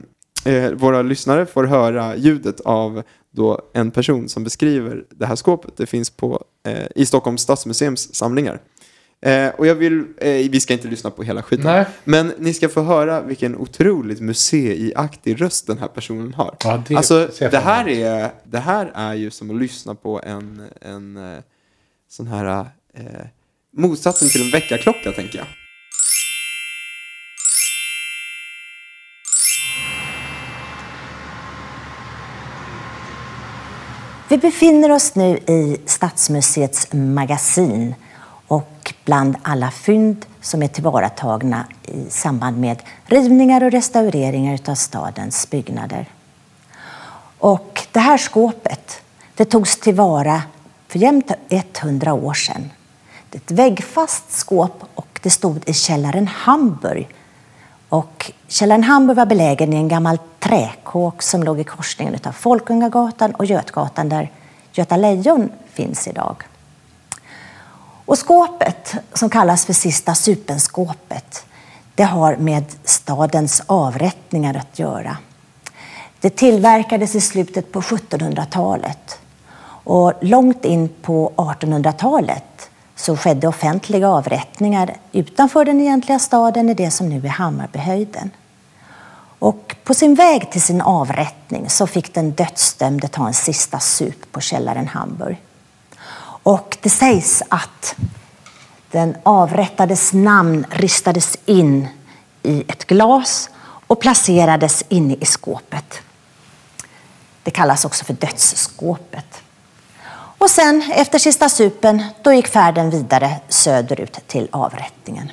Speaker 1: eh, våra lyssnare får höra ljudet av då en person som beskriver det här skåpet. Det finns på, eh, i Stockholms stadsmuseums samlingar. Eh, och jag vill, eh, vi ska inte lyssna på hela skiten.
Speaker 2: Nej.
Speaker 1: Men ni ska få höra vilken otroligt museiaktig röst den här personen har.
Speaker 2: Ja, det
Speaker 1: alltså,
Speaker 2: ser jag
Speaker 1: det
Speaker 2: fram
Speaker 1: här,
Speaker 2: emot.
Speaker 1: är, det här är ju som att lyssna på en, en eh, sån här... Eh, motsatsen till en väckarklocka, tänker jag.
Speaker 4: Vi befinner oss nu i Stadsmuseets magasin och bland alla fynd som är tillvaratagna i samband med rivningar och restaureringar av stadens byggnader. Och det här skåpet det togs tillvara för jämnt 100 år sedan. Det är ett väggfast skåp och det stod i källaren Hamburg. Och källaren Hamburg var belägen i en gammal träkåk som låg i korsningen av Folkungagatan och Götgatan där Göta Lejon finns idag. Och skåpet, som kallas för Sista supenskåpet, det har med stadens avrättningar att göra. Det tillverkades i slutet på 1700-talet. Och långt in på 1800-talet så skedde offentliga avrättningar utanför den egentliga staden i det som nu är Hammarbyhöjden. Och på sin väg till sin avrättning så fick den dödsdömde ta en sista sup på källaren Hamburg. Och det sägs att den avrättades namn ristades in i ett glas och placerades inne i skåpet. Det kallas också för dödsskåpet. Och sen, efter sista supen, då gick färden vidare söderut till avrättningen.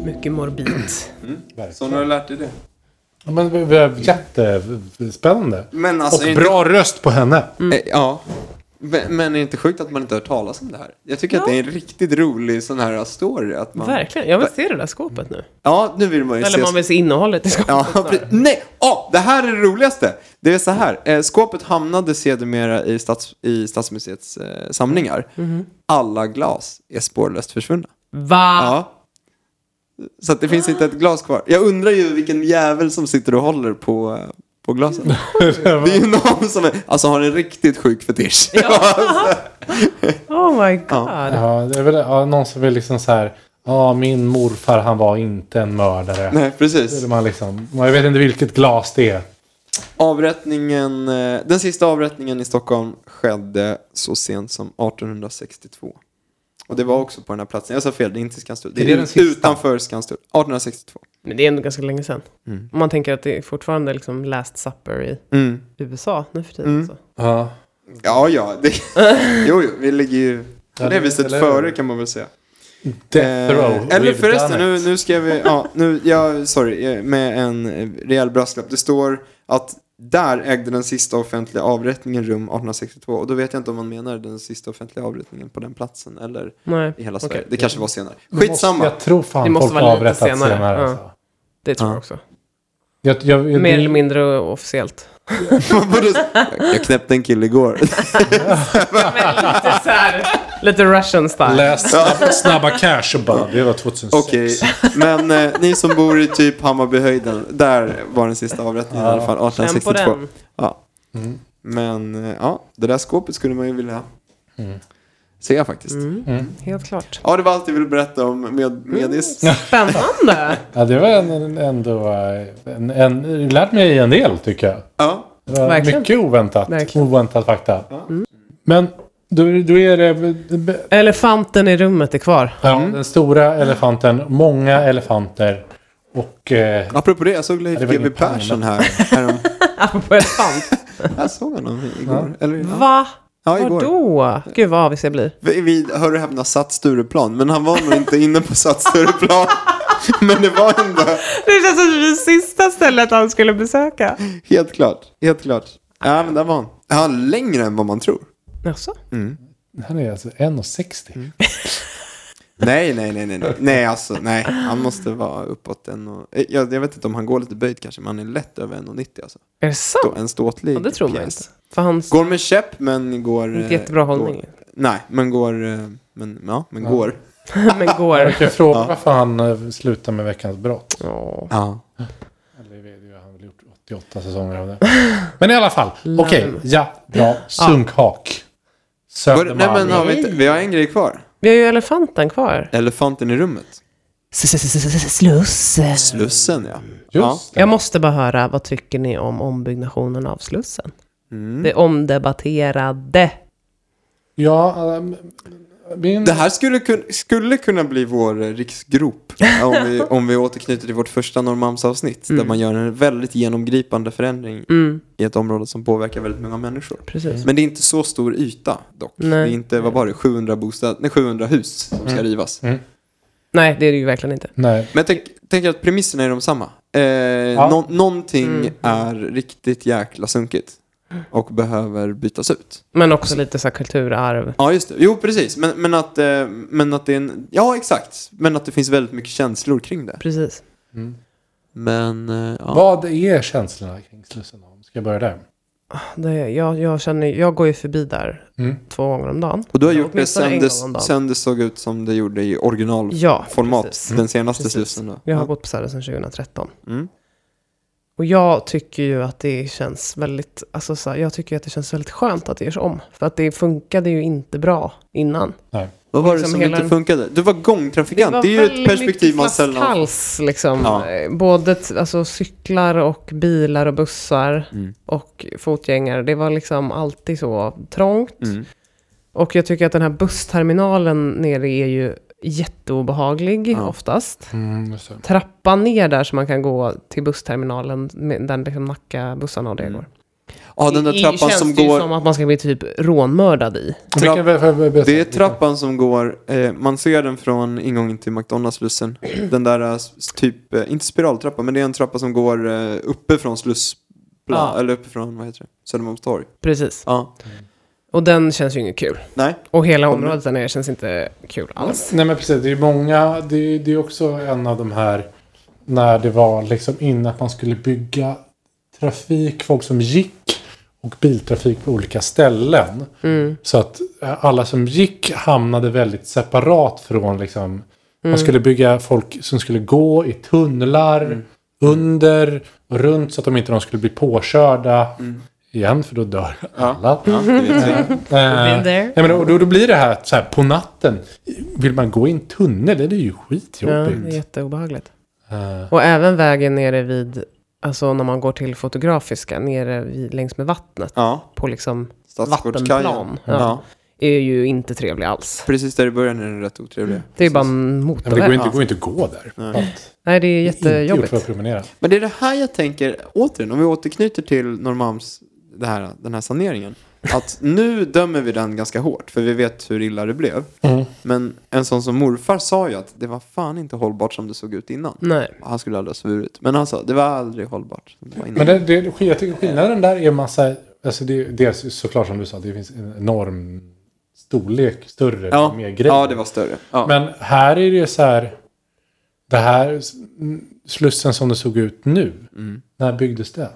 Speaker 3: Mycket morbid.
Speaker 1: Så nu har
Speaker 2: Verkligen.
Speaker 1: du lärt dig det.
Speaker 2: Ja, men, vi- vi har- jättespännande.
Speaker 1: Men alltså, är
Speaker 2: och
Speaker 1: det
Speaker 2: bra röst på henne.
Speaker 1: Eh, Ja. Men, men är det inte sjukt att man inte har hört talas om det här? Jag tycker att det är en riktigt rolig sån här story. Att man...
Speaker 3: Verkligen. Jag vill se det där skåpet nu.
Speaker 1: Ja, nu vill man ju
Speaker 3: Eller
Speaker 1: se...
Speaker 3: man vill se innehållet i skåpet.
Speaker 1: Ja,
Speaker 3: snarare.
Speaker 1: pre- nej! Åh, det här är det roligaste! Det är så här, eh, skåpet hamnade sedermera i, stats, i Stadsmuseets eh, samlingar. Alla glas är spårlöst försvunna.
Speaker 3: Va?
Speaker 1: Ja. Så att det finns inte ett glas kvar. Jag undrar ju vilken jävel som sitter och håller på, eh, på glasen. Det är ju någon som är, alltså har en riktigt sjuk fetisch.
Speaker 3: Oh my god.
Speaker 2: Ja, det är väl ja, någon som vill liksom så här. Ja, min morfar han var inte en mördare.
Speaker 1: Nej, precis.
Speaker 2: Eller man liksom, jag vet inte vilket glas det är.
Speaker 1: Avrättningen, eh, den sista avrättningen i Stockholm skedde så sent som 1862. Och det var också på den här platsen. Jag sa fel, det är inte Skanstull. Det
Speaker 2: Är
Speaker 1: är,
Speaker 2: det den sista?
Speaker 1: utanför Skanstull. 1862.
Speaker 3: Men det är ändå ganska länge sedan. Om man tänker att det är fortfarande liksom last supper i
Speaker 1: Mm.
Speaker 3: USA nu för tiden. alltså. Så.
Speaker 2: Ja.
Speaker 1: Ja, ja. Det, jo, jo, vi ligger ju på
Speaker 2: Ja,
Speaker 1: det
Speaker 2: det-
Speaker 1: viset
Speaker 2: eller-
Speaker 1: före kan man väl säga.
Speaker 2: Death row.
Speaker 1: Eh, eller
Speaker 2: we've
Speaker 1: förresten,
Speaker 2: done
Speaker 1: nu,
Speaker 2: it.
Speaker 1: nu ska vi... Ja, nu, ja, sorry, eh, med en eh, rejäl brasklapp. Det står att där ägde den sista offentliga avrättningen rum 1862. Och då vet jag inte om man menar den sista offentliga avrättningen på den platsen eller
Speaker 3: Nej,
Speaker 1: i hela
Speaker 3: Okej.
Speaker 1: Sverige. Det kanske var senare.
Speaker 2: Måste-
Speaker 1: Skitsamma.
Speaker 2: Jag tror
Speaker 3: Det
Speaker 2: fan
Speaker 3: måste
Speaker 2: folk
Speaker 3: vara
Speaker 2: har
Speaker 3: lite
Speaker 2: avrättat
Speaker 3: senare,
Speaker 2: senare.
Speaker 3: ja.
Speaker 2: alltså.
Speaker 3: det tror
Speaker 1: Ja.
Speaker 3: jag också.
Speaker 2: jag, jag, jag,
Speaker 3: Mer eller
Speaker 2: det-
Speaker 3: mindre officiellt.
Speaker 1: Man borde- jag knäppte en kille igår.
Speaker 3: lite så här, lite Russian style.
Speaker 2: Läst snabba, snabba cash och bara, det var 2006.
Speaker 1: Okej, men eh, ni som bor i typ Hammarbyhöjden, där var den sista avrättningen i alla fall,
Speaker 3: Känn på
Speaker 1: 1862.
Speaker 3: den.
Speaker 1: Ja.
Speaker 2: Mm.
Speaker 1: Men eh, ja, det där skåpet skulle man ju vilja
Speaker 2: Mm.
Speaker 1: se faktiskt.
Speaker 3: Mm. Helt klart.
Speaker 1: Ja, det var allt jag ville berätta om med Medis.
Speaker 2: Mm.
Speaker 3: Spännande.
Speaker 2: Ja, det var en, en, ändå... eh, En, en, det lärt mig en del, tycker jag.
Speaker 1: Ja.
Speaker 2: Det var
Speaker 3: Verkligen.
Speaker 2: mycket oväntat.
Speaker 3: Verkligen. Mm.
Speaker 2: Oväntat fakta. Men då, då är det...
Speaker 3: Elefanten i rummet är kvar.
Speaker 2: Ja, Den stora elefanten, många elefanter. Och eh,
Speaker 1: Apropå det, jag såg Leif
Speaker 2: Ja, det var
Speaker 1: GW
Speaker 2: ingen pang,
Speaker 1: Persson
Speaker 2: men-
Speaker 1: här. härom-
Speaker 3: Apropå elefant.
Speaker 1: jag såg honom igår. Eller, ja.
Speaker 3: Va?
Speaker 1: ja, igår.
Speaker 3: Vadå? Gud vad avis jag blir.
Speaker 1: Vi, vi hör och häpna, satt Stureplan. Men han var nog inte inne på satt Stureplan. men det var ändå
Speaker 3: Det känns som det sista stället han skulle besöka.
Speaker 1: helt klart. Helt klart. Ja, men där var han. Ja, längre än vad man tror.
Speaker 3: Jaså?
Speaker 1: Mm.
Speaker 2: han är alltså 1,60.
Speaker 3: Mm.
Speaker 1: Nej, nej, nej, nej, nej. Nej, alltså, nej. Han måste vara uppåt en och... eh, Jag, jag vet inte om han går lite böjd kanske, men han är lätt över 1,90 alltså.
Speaker 3: Är det
Speaker 1: Stå,
Speaker 3: sant?
Speaker 1: en ståtlig
Speaker 3: Ja, det tror man
Speaker 1: pjäs.
Speaker 3: inte. För hans...
Speaker 1: Går med käpp, men går... eh,
Speaker 3: Inte jättebra
Speaker 1: Går,
Speaker 3: hållning.
Speaker 1: nej, men går... eh, Men, ja, men går.
Speaker 3: Men går...
Speaker 2: Jag kan fråga varför han eh, slutar med veckans brott.
Speaker 3: Ja.
Speaker 1: Ja.
Speaker 2: Eller det vet jag, han har väl gjort 88 säsonger av det. Men i alla fall. Okej, ja, bra. Sunkhak.
Speaker 1: Var, det- nej, men har
Speaker 2: Södermalm.
Speaker 1: vi, inte, vi har en grej kvar.
Speaker 3: Vi har ju elefanten kvar.
Speaker 1: Elefanten i rummet.
Speaker 3: Sluss.
Speaker 1: Slussen, ja.
Speaker 2: Just det.
Speaker 3: Jag måste bara höra, vad tycker ni om ombyggnationen av Slussen?
Speaker 1: Mm.
Speaker 3: Det omdebatterade.
Speaker 2: Ja, ähm, min...
Speaker 1: Det här skulle, kun- skulle kunna bli vår eh, riksgrop. Om vi, om vi återknyter till vårt första Norrmalmsavsnitt. Där man gör en väldigt genomgripande förändring i ett område som påverkar väldigt många människor.
Speaker 3: Precis.
Speaker 1: Men det är inte så stor yta dock.
Speaker 3: Nej.
Speaker 1: Det är inte, vad var det, 700, bostad, nej, 700 hus som ska rivas.
Speaker 3: Nej, det är det ju verkligen inte.
Speaker 2: Nej.
Speaker 1: Men jag tänk, tänker att premisserna är de samma. Eh, nå- någonting är riktigt jäkla sunkigt och behöver bytas ut.
Speaker 3: Men också lite så här kulturarv.
Speaker 1: Ja, just det. Jo, precis. Men, men, att, eh, men att det är en... Ja, exakt. Men att det finns väldigt mycket känslor kring det.
Speaker 3: Precis.
Speaker 1: Men, eh, ja.
Speaker 2: Vad är känslorna kring Slussen? om? Ska jag börja där?
Speaker 3: Det, jag, jag, känner, jag går ju förbi där
Speaker 1: Mm.
Speaker 3: två gånger om dagen.
Speaker 1: Och du har
Speaker 3: Ja,
Speaker 1: gjort det
Speaker 3: åtminstone en
Speaker 1: sen
Speaker 3: gång om
Speaker 1: det,
Speaker 3: dagen.
Speaker 1: sen det såg ut som det gjorde i originalformat.
Speaker 3: Ja, precis.
Speaker 1: den senaste
Speaker 3: Precis.
Speaker 1: slussen då.
Speaker 3: Jag har
Speaker 1: Ja.
Speaker 3: bott på Söder sedan 2013.
Speaker 1: Mm.
Speaker 3: Och jag tycker ju att det känns väldigt, alltså så här, jag tycker ju att det känns väldigt skönt att det görs om. För att det funkade ju inte bra innan.
Speaker 2: Nej.
Speaker 1: Vad var
Speaker 3: liksom
Speaker 1: det som
Speaker 3: hela
Speaker 1: inte
Speaker 3: den-
Speaker 1: funkade? Du var gångtrafikant. Det, är ju ett perspektiv man sällan får.
Speaker 3: Hals, liksom.
Speaker 1: Ja.
Speaker 3: Eh, Både t- alltså, cyklar och bilar och bussar
Speaker 1: Mm.
Speaker 3: och fotgängare. Det var liksom alltid så trångt.
Speaker 1: Mm.
Speaker 3: Och jag tycker att den här bussterminalen nere är ju jätteobehaglig oftast
Speaker 2: Mm, just det.
Speaker 3: trappan ner där så man kan gå till bussterminalen, med- där liksom Nacka-bussarna och det går.
Speaker 1: Mm. Ja, den där
Speaker 3: I-
Speaker 1: trappan
Speaker 3: känns
Speaker 1: som
Speaker 3: det ju
Speaker 1: går...
Speaker 3: som att man ska bli typ rånmördad i.
Speaker 2: Vilken, för, för, för,
Speaker 1: Det är trappan som går, eh, man ser den från ingången till McDonalds-slussen. Den där eh, s- typ, eh, inte spiraltrappa, men det är en trappa som går eh, uppifrån slussplan,
Speaker 3: Ja.
Speaker 1: eller uppifrån, vad heter det, Södermalmstorg.
Speaker 3: Precis.
Speaker 1: Ja.
Speaker 3: Och den känns ju inget kul.
Speaker 1: Nej.
Speaker 3: Och hela området där nere känns inte kul alls.
Speaker 2: Nej men precis, det är många, det är, det är också en av de här när det var liksom innan att man skulle bygga trafik, folk som gick och biltrafik på olika ställen. Så att eh, alla som gick hamnade väldigt separat från liksom Man skulle bygga folk som skulle gå i tunnlar, under och runt så att de inte de skulle bli påkörda igen för då dör alla.
Speaker 1: Ja, det vet
Speaker 3: Mm.
Speaker 1: vi.
Speaker 2: Eh,
Speaker 3: there.
Speaker 2: Ja, men då, då, då blir det här att så här, på natten. Vill man gå i en tunnel? Det är ju
Speaker 3: Ja, det är
Speaker 2: skitjobbigt.
Speaker 3: jätteobehagligt.
Speaker 2: Eh,
Speaker 3: Och även vägen nere vid, alltså när man går till Fotografiska, nere vid, längs med vattnet.
Speaker 1: Ja,
Speaker 3: På liksom
Speaker 1: Stadsgårdskajen.
Speaker 3: vattenplan.
Speaker 1: Ja.
Speaker 3: Ja. Är ju inte trevlig alls.
Speaker 1: Precis där i början är den rätt otrevlig.
Speaker 3: Mm. Det är bara en
Speaker 2: ja, men det går
Speaker 3: motorväg.
Speaker 2: inte, går inte att gå där. Att-
Speaker 3: Nej, det är
Speaker 2: Inte gjort
Speaker 3: jättejobbigt.
Speaker 2: för att promenera.
Speaker 1: Men det är det här jag tänker, återigen, om vi återknyter till Norrmalms, det här, den här saneringen. Att nu dömer vi den ganska hårt, för vi vet hur illa det blev.
Speaker 2: Mm.
Speaker 1: Men en sån som morfar sa ju att det var fan inte hållbart som det såg ut innan.
Speaker 2: Mm.
Speaker 3: Nej.
Speaker 1: Han skulle aldrig ha svurit. Men han sa, det var aldrig hållbart. som Det var innan.
Speaker 2: Men det, det, jag tycker skillnaden där är massa... Alltså det, är- dels såklart som du sa, det finns en enorm storlek, större,
Speaker 1: ja.
Speaker 2: mer grejer.
Speaker 1: ja, det var större. Ja.
Speaker 2: Men här är det ju så här... Det här Slussen som det såg ut nu. När byggdes det?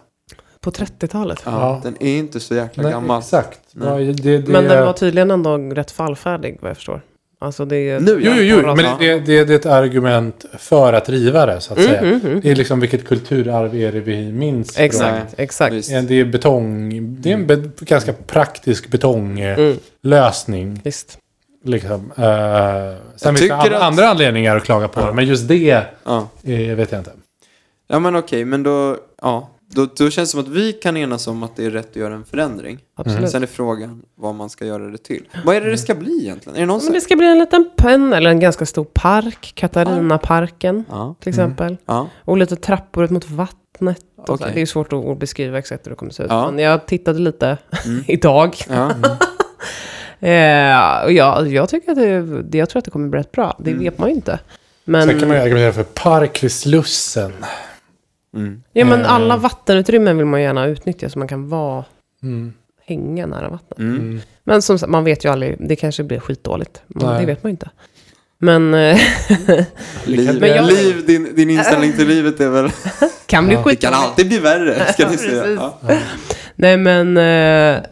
Speaker 3: På 30-talet.
Speaker 1: ja.
Speaker 2: ja.
Speaker 1: Den är inte så jäkla
Speaker 2: Nej,
Speaker 1: gammal.
Speaker 2: Exakt. Ja, det, det,
Speaker 3: Men den var tydligen ändå rätt fallfärdig vad jag förstår. Alltså det är...
Speaker 1: Nu
Speaker 2: Jo,
Speaker 1: ja. Mm,
Speaker 2: jo, jo
Speaker 3: Bara
Speaker 2: men
Speaker 1: så.
Speaker 2: det, det, det är ett argument för att riva det, så att säga. Det är liksom vilket kulturarv är det vi minns? från-
Speaker 3: Exakt, exakt.
Speaker 1: Visst.
Speaker 2: Ja, Det är betong, det är en be, ganska praktisk betonglösning.
Speaker 3: Visst.
Speaker 2: Liksom. Eh, sen
Speaker 1: Mm. Jag
Speaker 2: finns det
Speaker 1: tycker
Speaker 2: an-
Speaker 1: att-
Speaker 2: andra anledningar att klaga på det, men just det
Speaker 1: Ja.
Speaker 2: eh, vet jag inte.
Speaker 1: ja, men okej, men då, ja. Då, då känns det som att vi kan enas om att det är rätt att göra en förändring.
Speaker 3: Absolut.
Speaker 1: Sen är frågan vad man ska göra det till. Vad är det det ska bli egentligen? Är det någon
Speaker 3: Men
Speaker 1: som...
Speaker 3: det ska bli en liten penn, eller en ganska stor park, Katarinaparken
Speaker 1: Ja.
Speaker 3: till exempel.
Speaker 1: Ja.
Speaker 3: Och lite trappor ut mot vattnet. Och så här.
Speaker 1: Okej.
Speaker 3: Det är ju svårt att beskriva exakt hur det kommer se ut.
Speaker 1: Ja. Mm.
Speaker 3: Men jag tittade lite idag.
Speaker 1: Ja. Mm.
Speaker 3: Eh, och jag, jag, tycker att det, jag tror att det kommer bli rätt bra. Det
Speaker 1: Mm.
Speaker 3: vet man ju inte. Men,
Speaker 2: Sen kan man ju argumentera för park vid Slussen.
Speaker 3: ja, men
Speaker 1: Eh.
Speaker 3: alla vattenutrymmen vill man ju gärna utnyttja så man kan vara,
Speaker 2: Mm.
Speaker 3: hänga nära vattnet.
Speaker 1: Mm.
Speaker 3: Men som sagt, man vet ju aldrig. Det kanske blir skitdåligt. Men
Speaker 2: Nej.
Speaker 3: Det vet man ju inte. Men eh,
Speaker 1: Liv,
Speaker 3: Men jag-
Speaker 1: liv din, din inställning till livet är väl...
Speaker 3: kan bli
Speaker 1: Det kan
Speaker 3: skitdåligt.
Speaker 1: alltid bli värre, ska ni säga.
Speaker 3: Precis.
Speaker 1: Ja.
Speaker 3: Nej men, eh,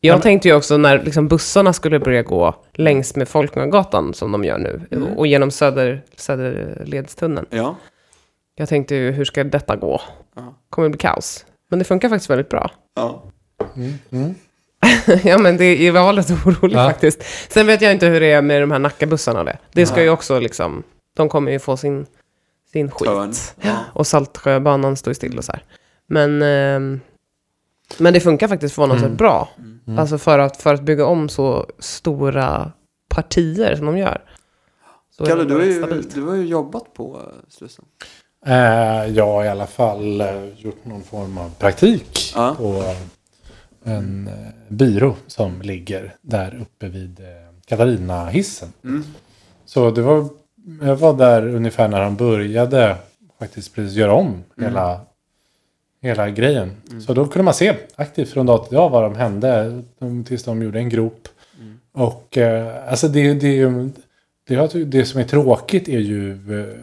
Speaker 3: jag tänkte ju också när liksom, bussarna skulle börja gå längs med Folkungagatan som de gör nu
Speaker 1: Mm.
Speaker 3: och, och genom söder, Söderledstunneln.
Speaker 1: ja.
Speaker 3: Jag tänkte ju, hur ska detta gå?
Speaker 1: Ja.
Speaker 3: Kommer det bli kaos? Men det funkar faktiskt väldigt bra.
Speaker 1: ja.
Speaker 2: Mm.
Speaker 3: ja men det, jag var lite orolig
Speaker 2: Ja.
Speaker 3: faktiskt. Sen vet jag inte hur det är med de här Nackabussarna och det. Det ska ju också liksom, de kommer ju få sin, sin skit.
Speaker 1: Törn. Ja.
Speaker 3: Och Saltsjöbanan står ju still och så här. Men, ehm, men det funkar faktiskt förvånansvärt
Speaker 1: Mm.
Speaker 3: bra.
Speaker 2: Mm.
Speaker 3: Alltså för att, för att bygga om så stora partier som de gör. Så
Speaker 1: Kalle, du har,
Speaker 3: väldigt
Speaker 1: ju,
Speaker 3: stabilt.
Speaker 1: du har ju jobbat på eh, Slussen.
Speaker 2: Eh, jag har i alla fall eh, gjort någon form av praktik
Speaker 1: Ja.
Speaker 2: på en eh, byrå som ligger där uppe vid eh, Katarina-hissen.
Speaker 1: Mm.
Speaker 2: Så det var, jag var där ungefär när han började faktiskt precis göra
Speaker 1: Mm.
Speaker 2: om hela, hela grejen. Så då kunde man se aktivt från dag till dag vad de hände de, tills de gjorde en grop.
Speaker 1: Mm.
Speaker 2: Och eh, alltså det, det, är ju- det, jag tycker- det som är tråkigt är ju eh,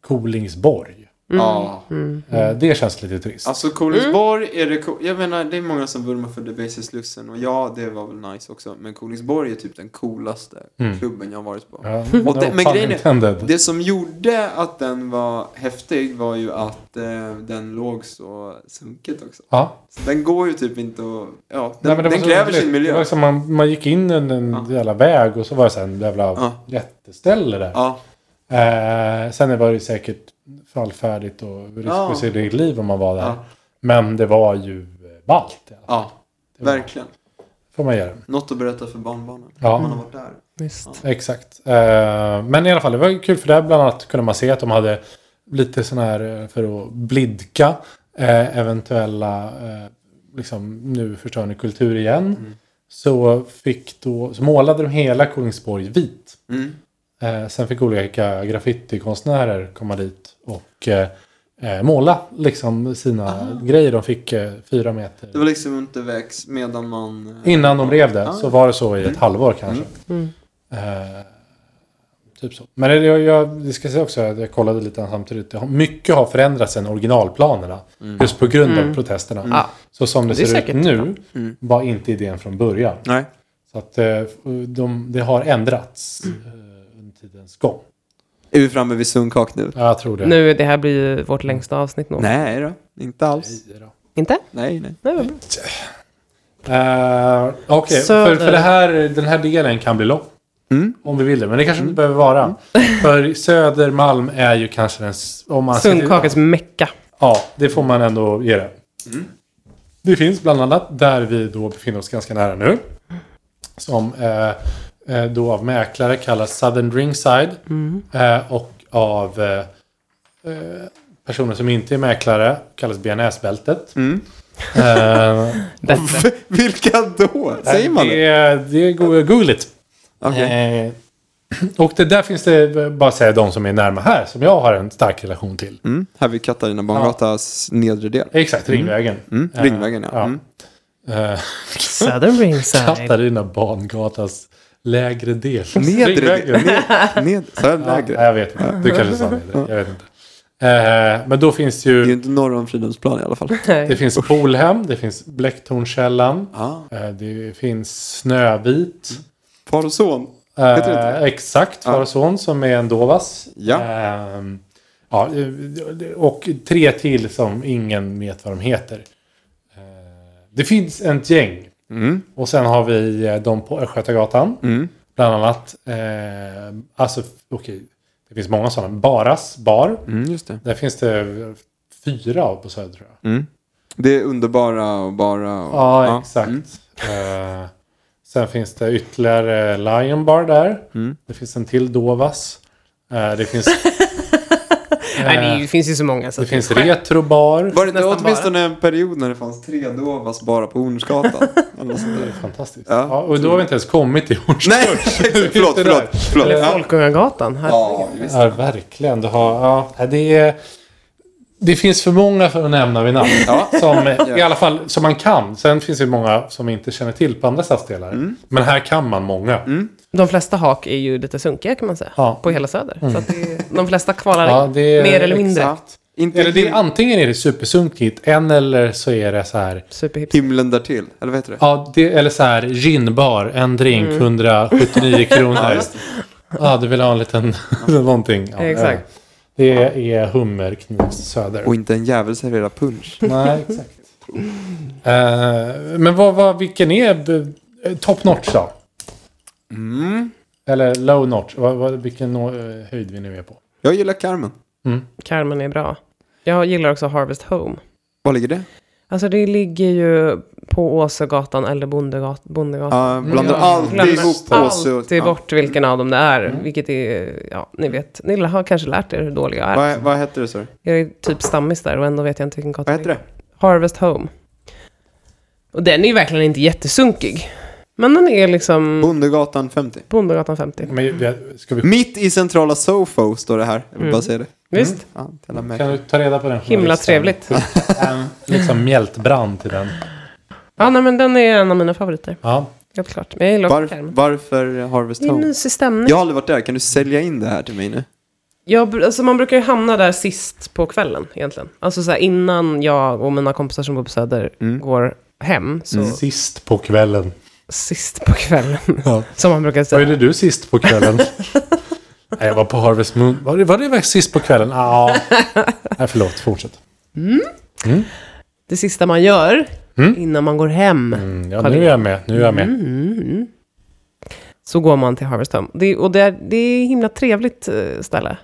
Speaker 2: Kolingsborg.
Speaker 1: Ja.
Speaker 2: Eh, det känns lite trist.
Speaker 1: Alltså Kolingsborg är det co- Jag menar, det är många som vurmar för Debaser Slussen och ja, det var väl nice också. Men Kolingsborg är typ den coolaste
Speaker 2: Mm.
Speaker 1: klubben jag har varit på.
Speaker 2: Ja,
Speaker 1: och det-
Speaker 2: no
Speaker 1: men
Speaker 2: pun
Speaker 1: grejen är-
Speaker 2: intended.
Speaker 1: Det som gjorde att den var häftig var ju att eh, den låg så sunkigt också.
Speaker 2: Ja.
Speaker 1: Så den går ju typ inte att... Ja,
Speaker 2: Nej,
Speaker 1: den,
Speaker 2: men det var
Speaker 1: den
Speaker 2: så
Speaker 1: kräver
Speaker 2: roligt.
Speaker 1: sin
Speaker 2: Det var
Speaker 1: miljö.
Speaker 2: liksom man, man gick in en, en
Speaker 1: Ja.
Speaker 2: jävla väg och så var det så här en jävla
Speaker 1: Ja.
Speaker 2: jätteställe där.
Speaker 1: Ja,
Speaker 2: Eh, sen var det säkert fallfärdigt och risk
Speaker 1: Ja.
Speaker 2: för sitt eget liv om man var där.
Speaker 1: Ja.
Speaker 2: Men det var ju eh, ballt. i alla fall.
Speaker 1: ja,
Speaker 2: Det var-
Speaker 1: verkligen.
Speaker 2: får man göra.
Speaker 1: Något att berätta för barnbarnen.
Speaker 2: Ja.
Speaker 1: Man har varit där.
Speaker 3: Visst.
Speaker 2: Exakt. Eh, men i alla fall, det var ju kul för där bland annat kunde man se att de hade lite sån här eh, för att blidka eh, eventuella, eh, liksom nu förstör ni kultur igen. Så, fick då, så målade de hela Kungsborg vit.
Speaker 1: Mm.
Speaker 2: Eh, sen fick olika graffitikonstnärer komma dit och eh, eh, måla liksom sina grejer. De fick eh, fyra meter.
Speaker 1: Det var liksom inte väx medan man... eh,
Speaker 2: Innan de rev det
Speaker 1: Ah.
Speaker 2: så var det så i
Speaker 3: Mm.
Speaker 2: ett halvår kanske. Eh, typ så. Men det, jag, jag det ska säga också att jag kollade lite samtidigt. Det har, mycket har förändrats sedan originalplanerna. Just på grund av protesterna.
Speaker 3: Mm. Ja.
Speaker 2: Så som det,
Speaker 3: Det är
Speaker 2: ser ut
Speaker 3: säkert Mm.
Speaker 2: nu var inte idén från början.
Speaker 1: Nej.
Speaker 2: Så att eh, de, det har ändrats
Speaker 3: Mm.
Speaker 2: eh, under tidens gång.
Speaker 1: Är vi framme vid sunkak nu?
Speaker 2: Ja, jag tror det.
Speaker 3: Nu, det här blir ju vårt längsta avsnitt nog.
Speaker 1: Nej då, inte alls.
Speaker 2: Nej då.
Speaker 3: Inte?
Speaker 1: Nej, nej.
Speaker 3: Nej, vad bra.
Speaker 2: Eh, Okej, för,
Speaker 3: Söder.
Speaker 2: för det här, den här delen kan bli lång.
Speaker 1: Mm.
Speaker 2: Om vi vill det, men det kanske inte behöver vara. För Södermalm är ju kanske den... s- Om man ser till-
Speaker 3: Sundkakets mecka.
Speaker 2: Ja, det får man ändå ge det.
Speaker 1: Mm.
Speaker 2: Det finns bland annat där vi då befinner oss ganska nära nu. Som eh, eh, då av mäklare kallas Southern Ringside.
Speaker 1: Mm.
Speaker 2: Eh, och av eh, eh, personer som inte är mäklare kallas BNS-bältet.
Speaker 1: Mm.
Speaker 2: Eh,
Speaker 1: Vilka då? Säger man det?
Speaker 2: det? Det är go- googligt.
Speaker 1: Okej.
Speaker 2: Eh, och det där finns det, eh, bara säga de som är närma här, som jag har en stark relation till.
Speaker 1: Mm. Här vid Katarina Barngatas nedre del.
Speaker 2: Exakt, Ringvägen.
Speaker 1: Mm.
Speaker 2: Eh,
Speaker 1: Ringvägen, ja. Mm.
Speaker 2: Eh,
Speaker 3: Southern ringside.
Speaker 2: Katarina Barngatas lägre del.
Speaker 1: Nedre del.
Speaker 2: Ringvägen.
Speaker 1: Ned, ned, så här
Speaker 2: Ja,
Speaker 1: lägre.
Speaker 2: jag vet inte. Du kanske sa nedre. Jag vet inte. Eh, men då finns
Speaker 1: Det är ju
Speaker 2: ju...
Speaker 1: inte norr om Fridhemsplan i alla fall.
Speaker 2: Det finns Polhem, det finns Blecktornskällan,
Speaker 1: Ah,
Speaker 2: eh, det finns Snövit.
Speaker 1: far och son. Heter det inte
Speaker 2: Eh,
Speaker 1: det?
Speaker 2: exakt, far och son som är en Dovas.
Speaker 1: Ja.
Speaker 2: Ehm, ja, och tre till som ingen vet vad de heter. Eh, det finns ett gäng.
Speaker 1: Mm.
Speaker 2: Och sen har vi eh, de på Östgötagatan.
Speaker 1: Mm.
Speaker 2: Bland annat. Eh, alltså, okej. Det finns många sådana. Baras bar.
Speaker 1: Mm, just det.
Speaker 2: Där finns det fyra av på Söder tror jag.
Speaker 1: Mm. Det är underbara och bara. Och,
Speaker 2: Ja,
Speaker 1: ja.
Speaker 2: exakt.
Speaker 1: Mm.
Speaker 2: Eh, sen finns det ytterligare Lion Bar där.
Speaker 1: Mm.
Speaker 2: Det finns en till Dovas. Eh, det finns,
Speaker 3: Nej, det är ju- det finns ju så många. Så
Speaker 2: det
Speaker 3: att det
Speaker 2: finns Retro
Speaker 1: Var
Speaker 2: Bar.
Speaker 1: det, det var
Speaker 3: Nästan
Speaker 1: åtminstone en period när det fanns tre Dovas bara på Hornsgatan. Eller något sånt där.
Speaker 2: Fantastiskt.
Speaker 1: Ja.
Speaker 2: Ja. och då har vi inte ens kommit till Hornstull.
Speaker 1: Nej, exakt. förlåt,
Speaker 2: Det där.
Speaker 1: förlåt. förlåt.
Speaker 3: är
Speaker 1: Ja.
Speaker 3: Folkungagatan. Här.
Speaker 1: Ja, visst.
Speaker 2: Ja, verkligen. Du har, ja, nej, det, är, det finns för många för att nämna vid namn.
Speaker 1: Ja.
Speaker 2: Som, I alla fall som man kan. Sen finns det många som vi inte känner till på andra stadsdelar.
Speaker 1: Mm.
Speaker 2: Men här kan man många.
Speaker 3: De flesta hak är ju lite sunkiga kan man säga.
Speaker 2: Ja. Mm.
Speaker 3: På hela söder. Så att det, de flesta kvalar
Speaker 2: Ja,
Speaker 3: in,
Speaker 2: det är-
Speaker 3: mer eller mindre.
Speaker 1: Ja. Inte
Speaker 2: Eller det är,
Speaker 1: him-
Speaker 2: antingen är det supersunkigt, en eller så är det så här.
Speaker 3: Superhipp.
Speaker 1: himlen därtill. Eller vad heter det?
Speaker 2: Ja, det, eller så här, ginbar, en drink,
Speaker 3: Mm.
Speaker 2: 179 kronor. Ja, du vill ha en liten någonting. Ja,
Speaker 3: Exakt.
Speaker 2: Det är hummerknivssöder.
Speaker 1: Och inte en jävel serverar punch.
Speaker 2: Nej, exakt. Eh, men vad, vad, vilken är b- eh, top notch då? Eller low notch? Vad, vad, vilken nå- eh, höjd vi nu är på.
Speaker 1: Jag gillar Carmen.
Speaker 3: Carmen är bra. Jag gillar också Harvest Home.
Speaker 1: Var ligger det?
Speaker 3: Alltså det ligger ju på Åsögatan eller Bondegat- Bondegatan.
Speaker 1: Ja,
Speaker 2: Mm.
Speaker 1: blandar alltid
Speaker 3: Glömmer
Speaker 1: ihop Mm. påse och...
Speaker 3: alltid bort vilken av dem det är. Vilket är, ja, ni vet. Ni har kanske lärt er hur dålig jag är.
Speaker 1: Vad, vad heter det, sorry?
Speaker 3: Jag är typ stammis där och ändå vet jag inte vilken gata
Speaker 1: Vad heter det?
Speaker 2: Mm.
Speaker 3: Harvest Home. Och den är ju verkligen inte jättesunkig. Men den är liksom
Speaker 1: Bondegatan 50.
Speaker 3: Bondegatan 50.
Speaker 1: Mm.
Speaker 2: Men, vi- ska vi,
Speaker 1: Mitt i centrala Sofo står det här. Jag vill bara säga det.
Speaker 3: Mm.
Speaker 1: Mm.
Speaker 3: Visst?
Speaker 1: Ja, till alla
Speaker 2: kan
Speaker 1: märken.
Speaker 2: du ta reda på den?
Speaker 3: Himla
Speaker 2: journalisten?
Speaker 3: trevligt.
Speaker 2: En, liksom mjältbrand till den.
Speaker 3: Ja, nej, men den är en av mina favoriter.
Speaker 2: Ja.
Speaker 3: Helt klart. Men jag gillar också
Speaker 1: Var,
Speaker 3: Carmen.
Speaker 1: varför Harvest
Speaker 3: Det är en
Speaker 1: Home?
Speaker 3: mysig stämning.
Speaker 1: Jag har aldrig varit där. Kan du sälja in det här till mig nu?
Speaker 3: Jag, br- alltså man brukar ju hamna där sist på kvällen egentligen. Alltså så här, innan jag och mina kompisar som bor på Söder
Speaker 2: Mm.
Speaker 3: går hem. Så
Speaker 2: Sist på kvällen.
Speaker 3: sist på kvällen.
Speaker 2: Ja.
Speaker 3: som man brukar
Speaker 2: Vad
Speaker 3: säga.
Speaker 2: gjorde du sist på kvällen? Nej, jag var på Harvest Moon. Var det, var det verkligen sist på kvällen? Ja. Nej, förlåt. Fortsätt.
Speaker 3: Det sista man gör innan man går hem.
Speaker 2: Mm, Ja, nu är jag med. Nu är jag med.
Speaker 3: Mm. Så går man till Harvest Home. Det, och det är, det är himla trevligt eh, ställe.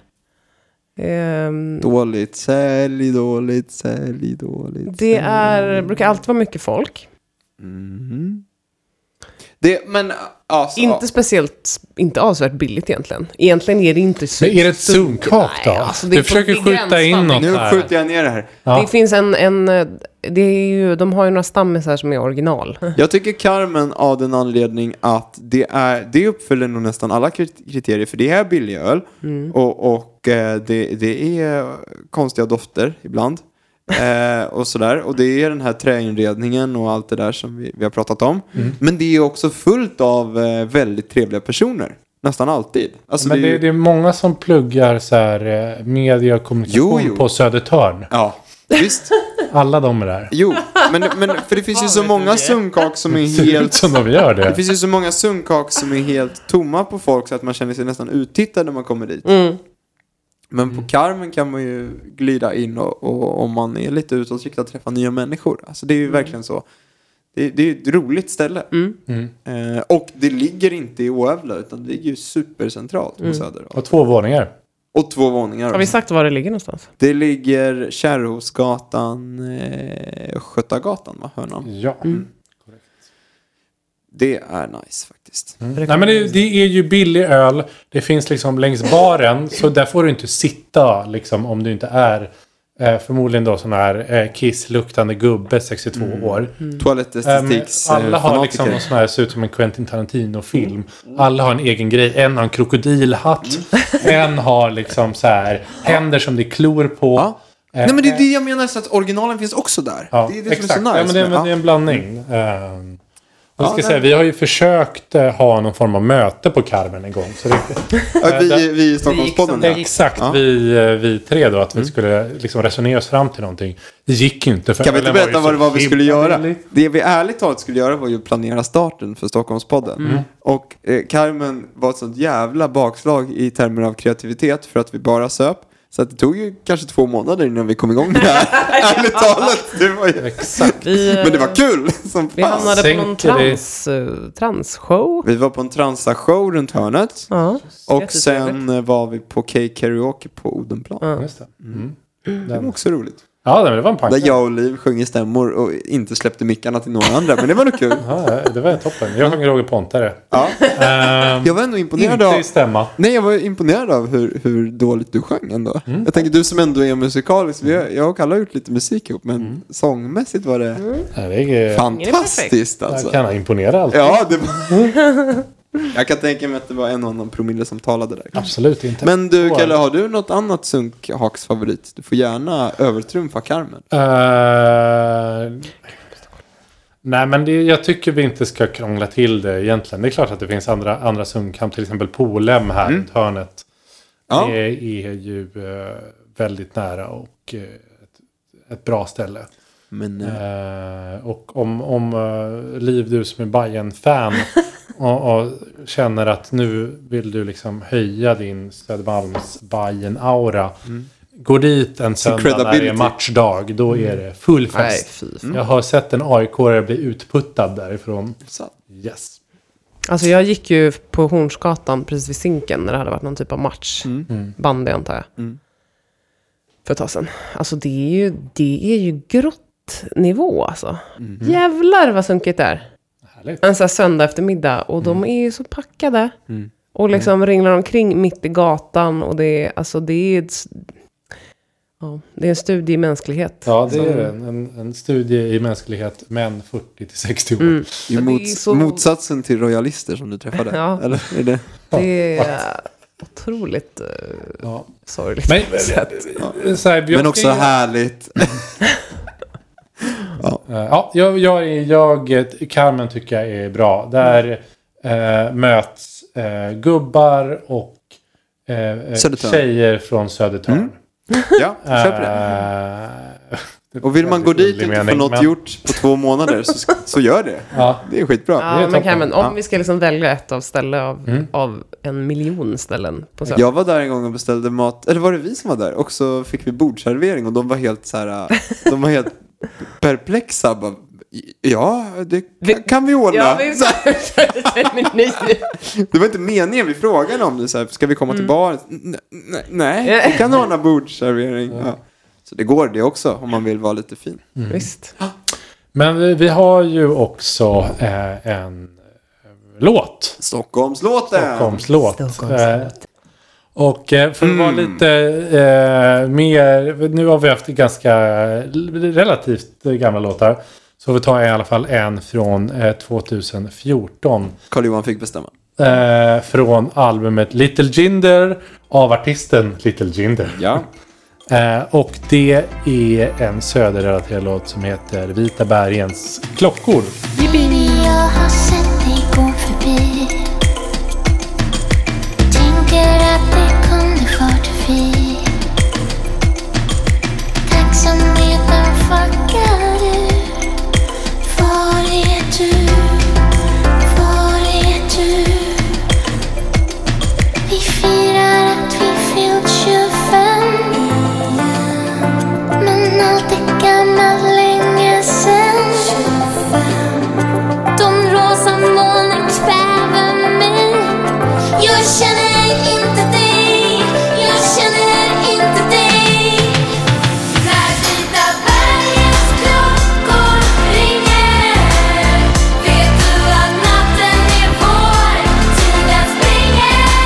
Speaker 3: Ehm,
Speaker 1: Dåligt, sälj, dåligt, sälj, dåligt.
Speaker 3: det är, brukar alltid vara mycket folk.
Speaker 1: Det, men, alltså,
Speaker 3: Inte speciellt, inte avsevärt billigt egentligen. Egentligen är det inte så...
Speaker 2: Men är det ett sunkhak då?
Speaker 3: Nej, alltså, det är
Speaker 2: du
Speaker 3: på
Speaker 2: försöker skjuta
Speaker 3: gränslandet.
Speaker 2: in något
Speaker 1: Nu
Speaker 2: här.
Speaker 1: skjuter jag ner det här.
Speaker 2: Ja.
Speaker 3: Det finns en, en eh, det är ju, de har ju några stammisar som är original.
Speaker 1: Jag tycker Carmen av den anledning att det, är, det uppfyller nog nästan alla krit- kriterier. För det är billig öl
Speaker 2: Mm.
Speaker 1: och, och eh, det, det är konstiga dofter ibland. Eh, och sådär. Och det är den här träinredningen och allt det där som vi, vi har pratat om.
Speaker 2: Mm.
Speaker 1: Men det är också fullt av eh, väldigt trevliga personer. Nästan alltid. Alltså,
Speaker 2: Men
Speaker 1: det är
Speaker 2: det,
Speaker 1: ju-
Speaker 2: det är många som pluggar så här, eh, media och kommunikation
Speaker 1: Jo, jo.
Speaker 2: på Södertörn.
Speaker 1: Ja, visst.
Speaker 2: Alla de är där.
Speaker 1: Jo, men, men för det finns ju så många sunkak som är
Speaker 2: Ser ut
Speaker 1: helt
Speaker 2: som de gör
Speaker 1: Det
Speaker 2: det.
Speaker 1: finns ju så många sunkak som är helt tomma på folk så att man känner sig nästan uttittad när man kommer dit.
Speaker 3: Mm.
Speaker 1: Men
Speaker 2: Mm.
Speaker 1: på Carmen kan man ju glida in och, och om man är lite utåtriktad träffa nya människor. Alltså det är ju
Speaker 3: Mm.
Speaker 1: verkligen så. Det, det är ju ett roligt ställe.
Speaker 2: Mm.
Speaker 1: Eh, och det ligger inte i Oävla utan det ligger ju supercentralt på Söder.
Speaker 2: Och två våningar.
Speaker 1: Och två våningar.
Speaker 3: Mm. Har vi sagt var det ligger någonstans?
Speaker 1: Det ligger Kärrhovsgatan, eh, Skötagatan va? Hörnan.
Speaker 2: Ja.
Speaker 3: Mm.
Speaker 1: Det är nice faktiskt.
Speaker 2: Nej, men det, det är ju billig öl. Det finns liksom längs baren. Så där får du inte sitta liksom, om du inte är eh, förmodligen då sån här eh, kissluktande gubbe 62 år.
Speaker 1: Mm.
Speaker 2: Ehm,
Speaker 1: Toalettestetiks
Speaker 2: alla
Speaker 1: eh,
Speaker 2: har
Speaker 1: fanatiker.
Speaker 2: liksom någon sån här, ser ut som en Quentin Tarantino-film. Alla har en egen grej. En har en krokodilhatt.
Speaker 1: Mm.
Speaker 2: En har liksom så här händer som det är klor på.
Speaker 1: Ja.
Speaker 2: Eh,
Speaker 1: Nej men det är
Speaker 2: eh,
Speaker 1: det jag menar, så att originalen finns också där.
Speaker 2: ja,
Speaker 1: det är det
Speaker 2: exakt.
Speaker 1: som är så
Speaker 2: ja, men
Speaker 1: nice.
Speaker 2: det, är-
Speaker 1: med- Mm.
Speaker 2: men det är en blandning. Ehm, jag
Speaker 1: Ja,
Speaker 2: ska
Speaker 1: nej.
Speaker 2: säga, vi har ju försökt eh, ha någon form av möte på Carmen en gång. Så det,
Speaker 1: ja, vi, vi i Stockholmspodden. ja.
Speaker 2: exakt,
Speaker 1: Ja. Mm.
Speaker 2: vi, eh, vi tre då, att vi skulle liksom resonera oss fram till någonting. Det gick ju inte. För
Speaker 1: Kan vi inte
Speaker 2: ölen var ju
Speaker 1: berätta
Speaker 2: så
Speaker 1: vad det var vi skulle
Speaker 2: himla
Speaker 1: göra?
Speaker 2: billig.
Speaker 1: Det vi ärligt talat skulle göra var ju att planera starten för Stockholmspodden.
Speaker 2: Mm.
Speaker 1: Och eh, Carmen var ett sånt jävla bakslag i termer av kreativitet för att vi bara söp. Så att det tog ju kanske två månader innan vi kom igång med det här. ärligt talat. Det var ju...
Speaker 2: Exakt.
Speaker 3: Vi, eh,
Speaker 1: Men det var kul som
Speaker 3: Vi
Speaker 1: fan.
Speaker 3: hamnade på någon
Speaker 2: Sänker det-
Speaker 3: trans, eh, transshow.
Speaker 1: Vi var på en transa-show runt hörnet.
Speaker 3: Ja.
Speaker 1: Och
Speaker 3: Jättetrevligt.
Speaker 1: sen eh, var vi på K-karaoke på Odenplan.
Speaker 2: Just det. Mm.
Speaker 1: Det var också roligt.
Speaker 2: Ja, det var en pang.
Speaker 1: Där jag och Liv sjöng i stämmor och inte släppte mickarna till några andra. Men det var nog kul.
Speaker 2: Ja, det var toppen. Jag sjöng Roger Pontare.
Speaker 1: Ja.
Speaker 2: Ehm,
Speaker 1: Jag var ändå imponerad
Speaker 2: inte
Speaker 1: av...
Speaker 2: i stämma.
Speaker 1: Nej, jag var imponerad av hur, hur dåligt du sjöng ändå.
Speaker 2: Mm.
Speaker 1: Jag tänker, du som ändå är musikalisk. Vi har, jag och Kalle har gjort lite musik ihop, men sångmässigt var det
Speaker 2: Nej, Det Mm. är,
Speaker 1: fantastiskt alltså.
Speaker 2: jag kan imponera alltid.
Speaker 1: Ja, det var... Jag kan tänka mig att det var en och annan promille som talade där.
Speaker 2: Absolut inte.
Speaker 1: Men du
Speaker 2: Så.
Speaker 1: Kalle, har du något annat sunkhaks favorit? Du får gärna övertrumfa Carmen.
Speaker 2: Eh, nej, men det, jag tycker vi inte ska krångla till det egentligen. Det är klart att det finns andra, andra sunkhamn, till exempel Polhem
Speaker 1: Mm.
Speaker 2: här runt hörnet.
Speaker 1: Ja.
Speaker 2: Det är ju eh, väldigt nära och eh, ett, ett bra ställe.
Speaker 1: Men eh,
Speaker 2: Eh, och om, om eh, Liv, du som är bayern fan och, och känner att nu vill du liksom höja din Södermalms bayern aura Gå dit en söndag när det är
Speaker 1: credibility.
Speaker 2: matchdag. Då är det full
Speaker 3: Nej,
Speaker 2: fest.
Speaker 3: fy.
Speaker 2: Jag har sett en aik bli utputtad därifrån.
Speaker 1: så.
Speaker 2: Yes.
Speaker 3: Alltså jag gick ju på Hornsgatan precis vid Zinken när det hade varit någon typ av match.
Speaker 2: Mm.
Speaker 3: Bandy antar jag. För ett tag sedan. Alltså det är ju, det är ju grottnivå alltså. Jävlar vad sunkigt det är.
Speaker 2: Härligt.
Speaker 3: En sån här söndag eftermiddag och de är ju så packade. Och liksom ringlar omkring mitt i gatan och det är, alltså det är ett, s- ja, det är en studie i mänsklighet.
Speaker 2: Ja, det
Speaker 3: Som-
Speaker 2: är en, en, en studie i mänsklighet. Män 40 till 60 år.
Speaker 1: Det är
Speaker 3: Men det är
Speaker 1: mots-
Speaker 3: så-
Speaker 1: motsatsen till royalister som du träffade.
Speaker 3: Ja.
Speaker 1: Eller är det?
Speaker 3: Det är otroligt eh,
Speaker 2: Ja.
Speaker 3: sorgligt.
Speaker 2: Men, så här, jag
Speaker 1: Men
Speaker 2: ska
Speaker 1: också
Speaker 2: ju-
Speaker 1: härligt.
Speaker 2: Eh, Ja, jag, jag, är- jag, eh, Carmen tycker jag är bra. Där
Speaker 1: Mm.
Speaker 2: eh, möts eh, gubbar och eh, eh,
Speaker 1: Södertörn.
Speaker 2: tjejer från Södertörn.
Speaker 1: Ja, jag köper det.
Speaker 2: Eh, det
Speaker 1: Och vill man gå
Speaker 2: var en
Speaker 1: dit och
Speaker 2: rolig
Speaker 1: inte få
Speaker 2: mening,
Speaker 1: något
Speaker 2: men-
Speaker 1: gjort på två månader så, ska- så gör det.
Speaker 2: Ja,
Speaker 1: Det är skitbra.
Speaker 2: Det är
Speaker 3: Ja, men
Speaker 2: toppen.
Speaker 3: Carmen, om
Speaker 1: Ja.
Speaker 3: vi ska liksom välja ett av ställe av, av en miljon ställen på Söder.
Speaker 1: Jag var där en gång och beställde mat, eller var det vi som var där? Och så fick vi bordservering och de var helt så här, äh, de var helt perplexa. Bara, ja, det kan, kan vi ordna.
Speaker 3: Ja, vi
Speaker 1: Så här, Det var inte meningen vi frågade om det, så här, ska vi komma till
Speaker 2: Mm.
Speaker 1: baren? N- n- Nej, vi kan ordna bordservering. Ja. Så det går det också om man vill vara lite fin.
Speaker 2: Mm.
Speaker 3: Visst.
Speaker 2: men vi, vi har ju också eh, en eh, låt.
Speaker 1: Stockholmslåten!
Speaker 2: Stockholmslåt.
Speaker 3: Stockholmslåt.
Speaker 2: Eh, Och eh, för att vara lite eh, mer, nu har vi haft ganska eh, relativt eh, gamla låtar. Så vi tar i alla fall en från eh, 2014.
Speaker 1: Karl-Johan fick bestämma.
Speaker 2: Eh, från albumet Little Jinder av artisten Little Jinder.
Speaker 1: Ja.
Speaker 2: Eh, och det är en söderrelaterad låt som heter Vita bergens klockor.
Speaker 5: När jag har sett dig gå förbi Tänker att det kunde varit vi Tacksamheten fuckar du Var är du? Var är du? Vi firar att vi fyllt 25 Men allt är gammalt länge sen de rosa molnen kväver mig Jag känner inte dig Jag känner inte dig När vita bergens klockor ringer Vet du att natten är vår Tiden springer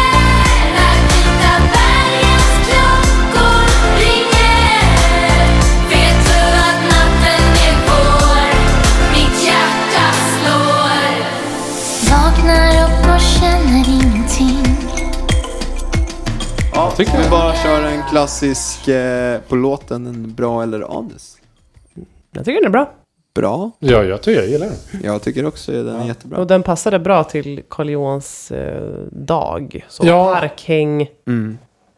Speaker 5: När vita bergens klockor ringer Vet du att natten är vår Mitt hjärta slår Vaknar upp och känner ingenting
Speaker 1: ja
Speaker 2: tycker
Speaker 1: vi bara kör en klassisk eh, på låten, en bra eller anus.
Speaker 3: Jag tycker den är bra.
Speaker 1: Bra.
Speaker 2: Ja, jag tycker jag gillar den.
Speaker 1: Jag tycker också den är jättebra.
Speaker 3: Och den passade bra till Karl Johans eh, dag. Så
Speaker 2: Ja.
Speaker 3: parkhäng,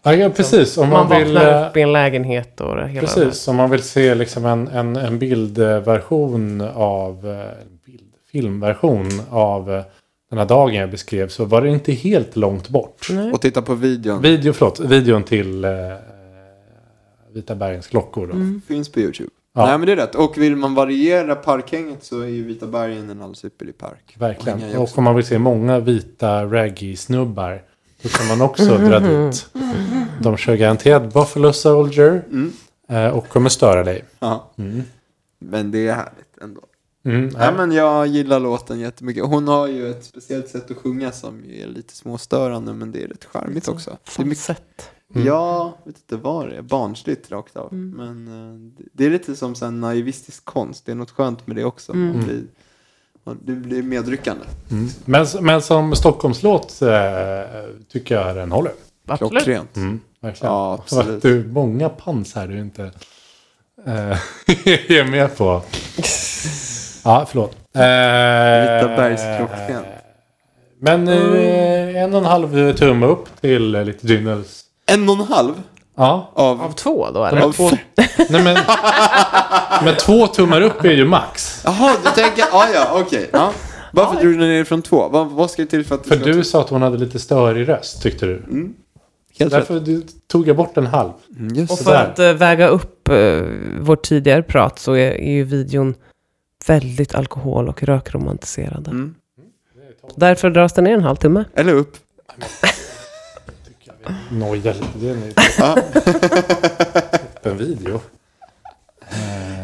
Speaker 2: Ja, ja precis. Om man,
Speaker 3: man
Speaker 2: vill... eh,
Speaker 3: vaknar upp i en lägenhet och det hela den här.
Speaker 2: Precis, om man vill se liksom en, en, en bildversion av, eh, bild, filmversion av eh, den här dagen jag beskrev så var det inte helt långt bort.
Speaker 1: Och titta på videon.
Speaker 2: Video, förlåt, videon till eh, Vita bergens klockor. Då.
Speaker 1: Finns på YouTube.
Speaker 2: Ja.
Speaker 1: Nej men det är rätt. Och vill man variera parkhänget så är ju Vita bergen en alldeles ypperlig park.
Speaker 2: Verkligen.
Speaker 1: Och
Speaker 2: Och om man vill se många vita reggae-snubbar då kan man också dra dit. De kör garanterat Buffalo Soldier. eh, och kommer störa dig.
Speaker 1: Ja.
Speaker 2: Mm.
Speaker 1: Men det är härligt ändå.
Speaker 2: Mm,
Speaker 1: Nej,
Speaker 2: nej.
Speaker 1: men jag gillar låten jättemycket. Hon har ju ett speciellt sätt att sjunga som ju är lite småstörande men det är rätt charmigt också. Det är mycket,
Speaker 3: Falsett.
Speaker 2: Mm.
Speaker 1: ja, vet inte vad det är. Barnsligt rakt av. Men eh, det- det är lite som sån naivistisk konst. Det är något skönt med det också. Man blir, man, det blir medryckande.
Speaker 2: Mm. Men, men som Stockholmslåt eh, tycker jag den håller.
Speaker 3: Absolut.
Speaker 1: Klockrent.
Speaker 2: Mm, verkligen.
Speaker 1: Ja,
Speaker 2: Så att
Speaker 1: absolut.
Speaker 2: du, många pans här du inte eh, är med på. Ja, förlåt. Eh,
Speaker 1: Vita bergsklockan.
Speaker 2: Men eh, en och en halv tumme upp till eh, lite Dynnels.
Speaker 1: En och en halv
Speaker 2: Ja.
Speaker 1: av,
Speaker 3: Av två då eller?
Speaker 1: av
Speaker 2: två- Nej, men, men två tummar upp är ju max.
Speaker 1: Jaha, du tänker, ah, ja okej. Ja. Varför drog du ner från två? Vad, vad ska det till för att
Speaker 2: För
Speaker 1: ska-
Speaker 2: du sa att hon hade lite störig röst tyckte du.
Speaker 1: Mm, Helt rätt.
Speaker 2: Därför du, tog jag bort en halv.
Speaker 1: Mm, just
Speaker 3: Och
Speaker 1: det.
Speaker 3: för
Speaker 2: Sådär.
Speaker 3: att eh, väga upp eh, vårt tidigare prat så är, är ju videon väldigt alkohol och rökromantiserad.
Speaker 1: Mm.
Speaker 3: Därför dras den ner en halv timme.
Speaker 1: Eller upp.
Speaker 2: Noja lite. Det är en
Speaker 1: Ja.
Speaker 2: öppen video.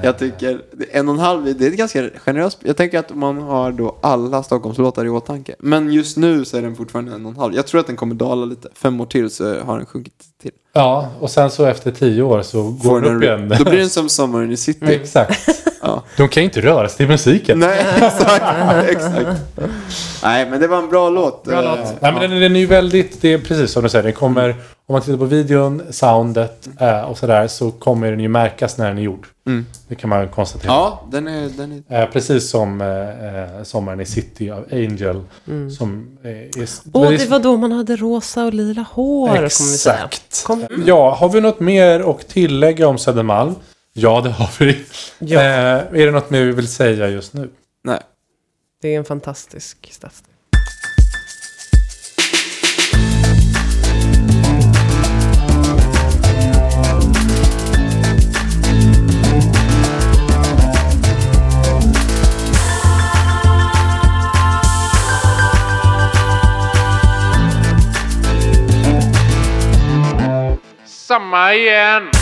Speaker 1: Jag tycker en och en halv, det är ganska generöst. Jag tänker att man har då alla Stockholmslåtar i åtanke. Men just nu så är den fortfarande en och en halv. Jag tror att den kommer dala lite. Fem år till så har den sjunkit till.
Speaker 2: Ja, och sen så efter tio år så går
Speaker 1: Får
Speaker 2: den
Speaker 1: en-
Speaker 2: upp igen. Mm.
Speaker 1: Då blir den som Sommaren i city.
Speaker 2: Exakt.
Speaker 1: Ja.
Speaker 2: De kan ju inte röra sig till musiken. Nej.
Speaker 1: Nej, exakt, exakt. Nej, men det var en bra låt. Bra
Speaker 2: Nej, men den, den är ju väldigt, det är precis som du säger, den kommer, om man tittar på videon, soundet eh, och sådär så kommer den ju märkas när den är gjord.
Speaker 1: Mm.
Speaker 2: Det kan man konstatera.
Speaker 1: Ja, den är... Den är...
Speaker 2: Eh, precis som eh, eh, Sommaren i City av Angel. Som eh, är...
Speaker 3: Mm. Åh,
Speaker 2: men
Speaker 3: det var då man hade rosa och lila hår, kommer vi säga.
Speaker 2: Exakt.
Speaker 3: Kom.
Speaker 2: Ja, har vi något mer att tillägga om Södermalm? Ja, det har vi.
Speaker 3: Ja.
Speaker 2: Eh, är det något mer vi vill säga just nu?
Speaker 1: Nej.
Speaker 3: Det är en fantastisk stadsdel.
Speaker 6: Samma igen.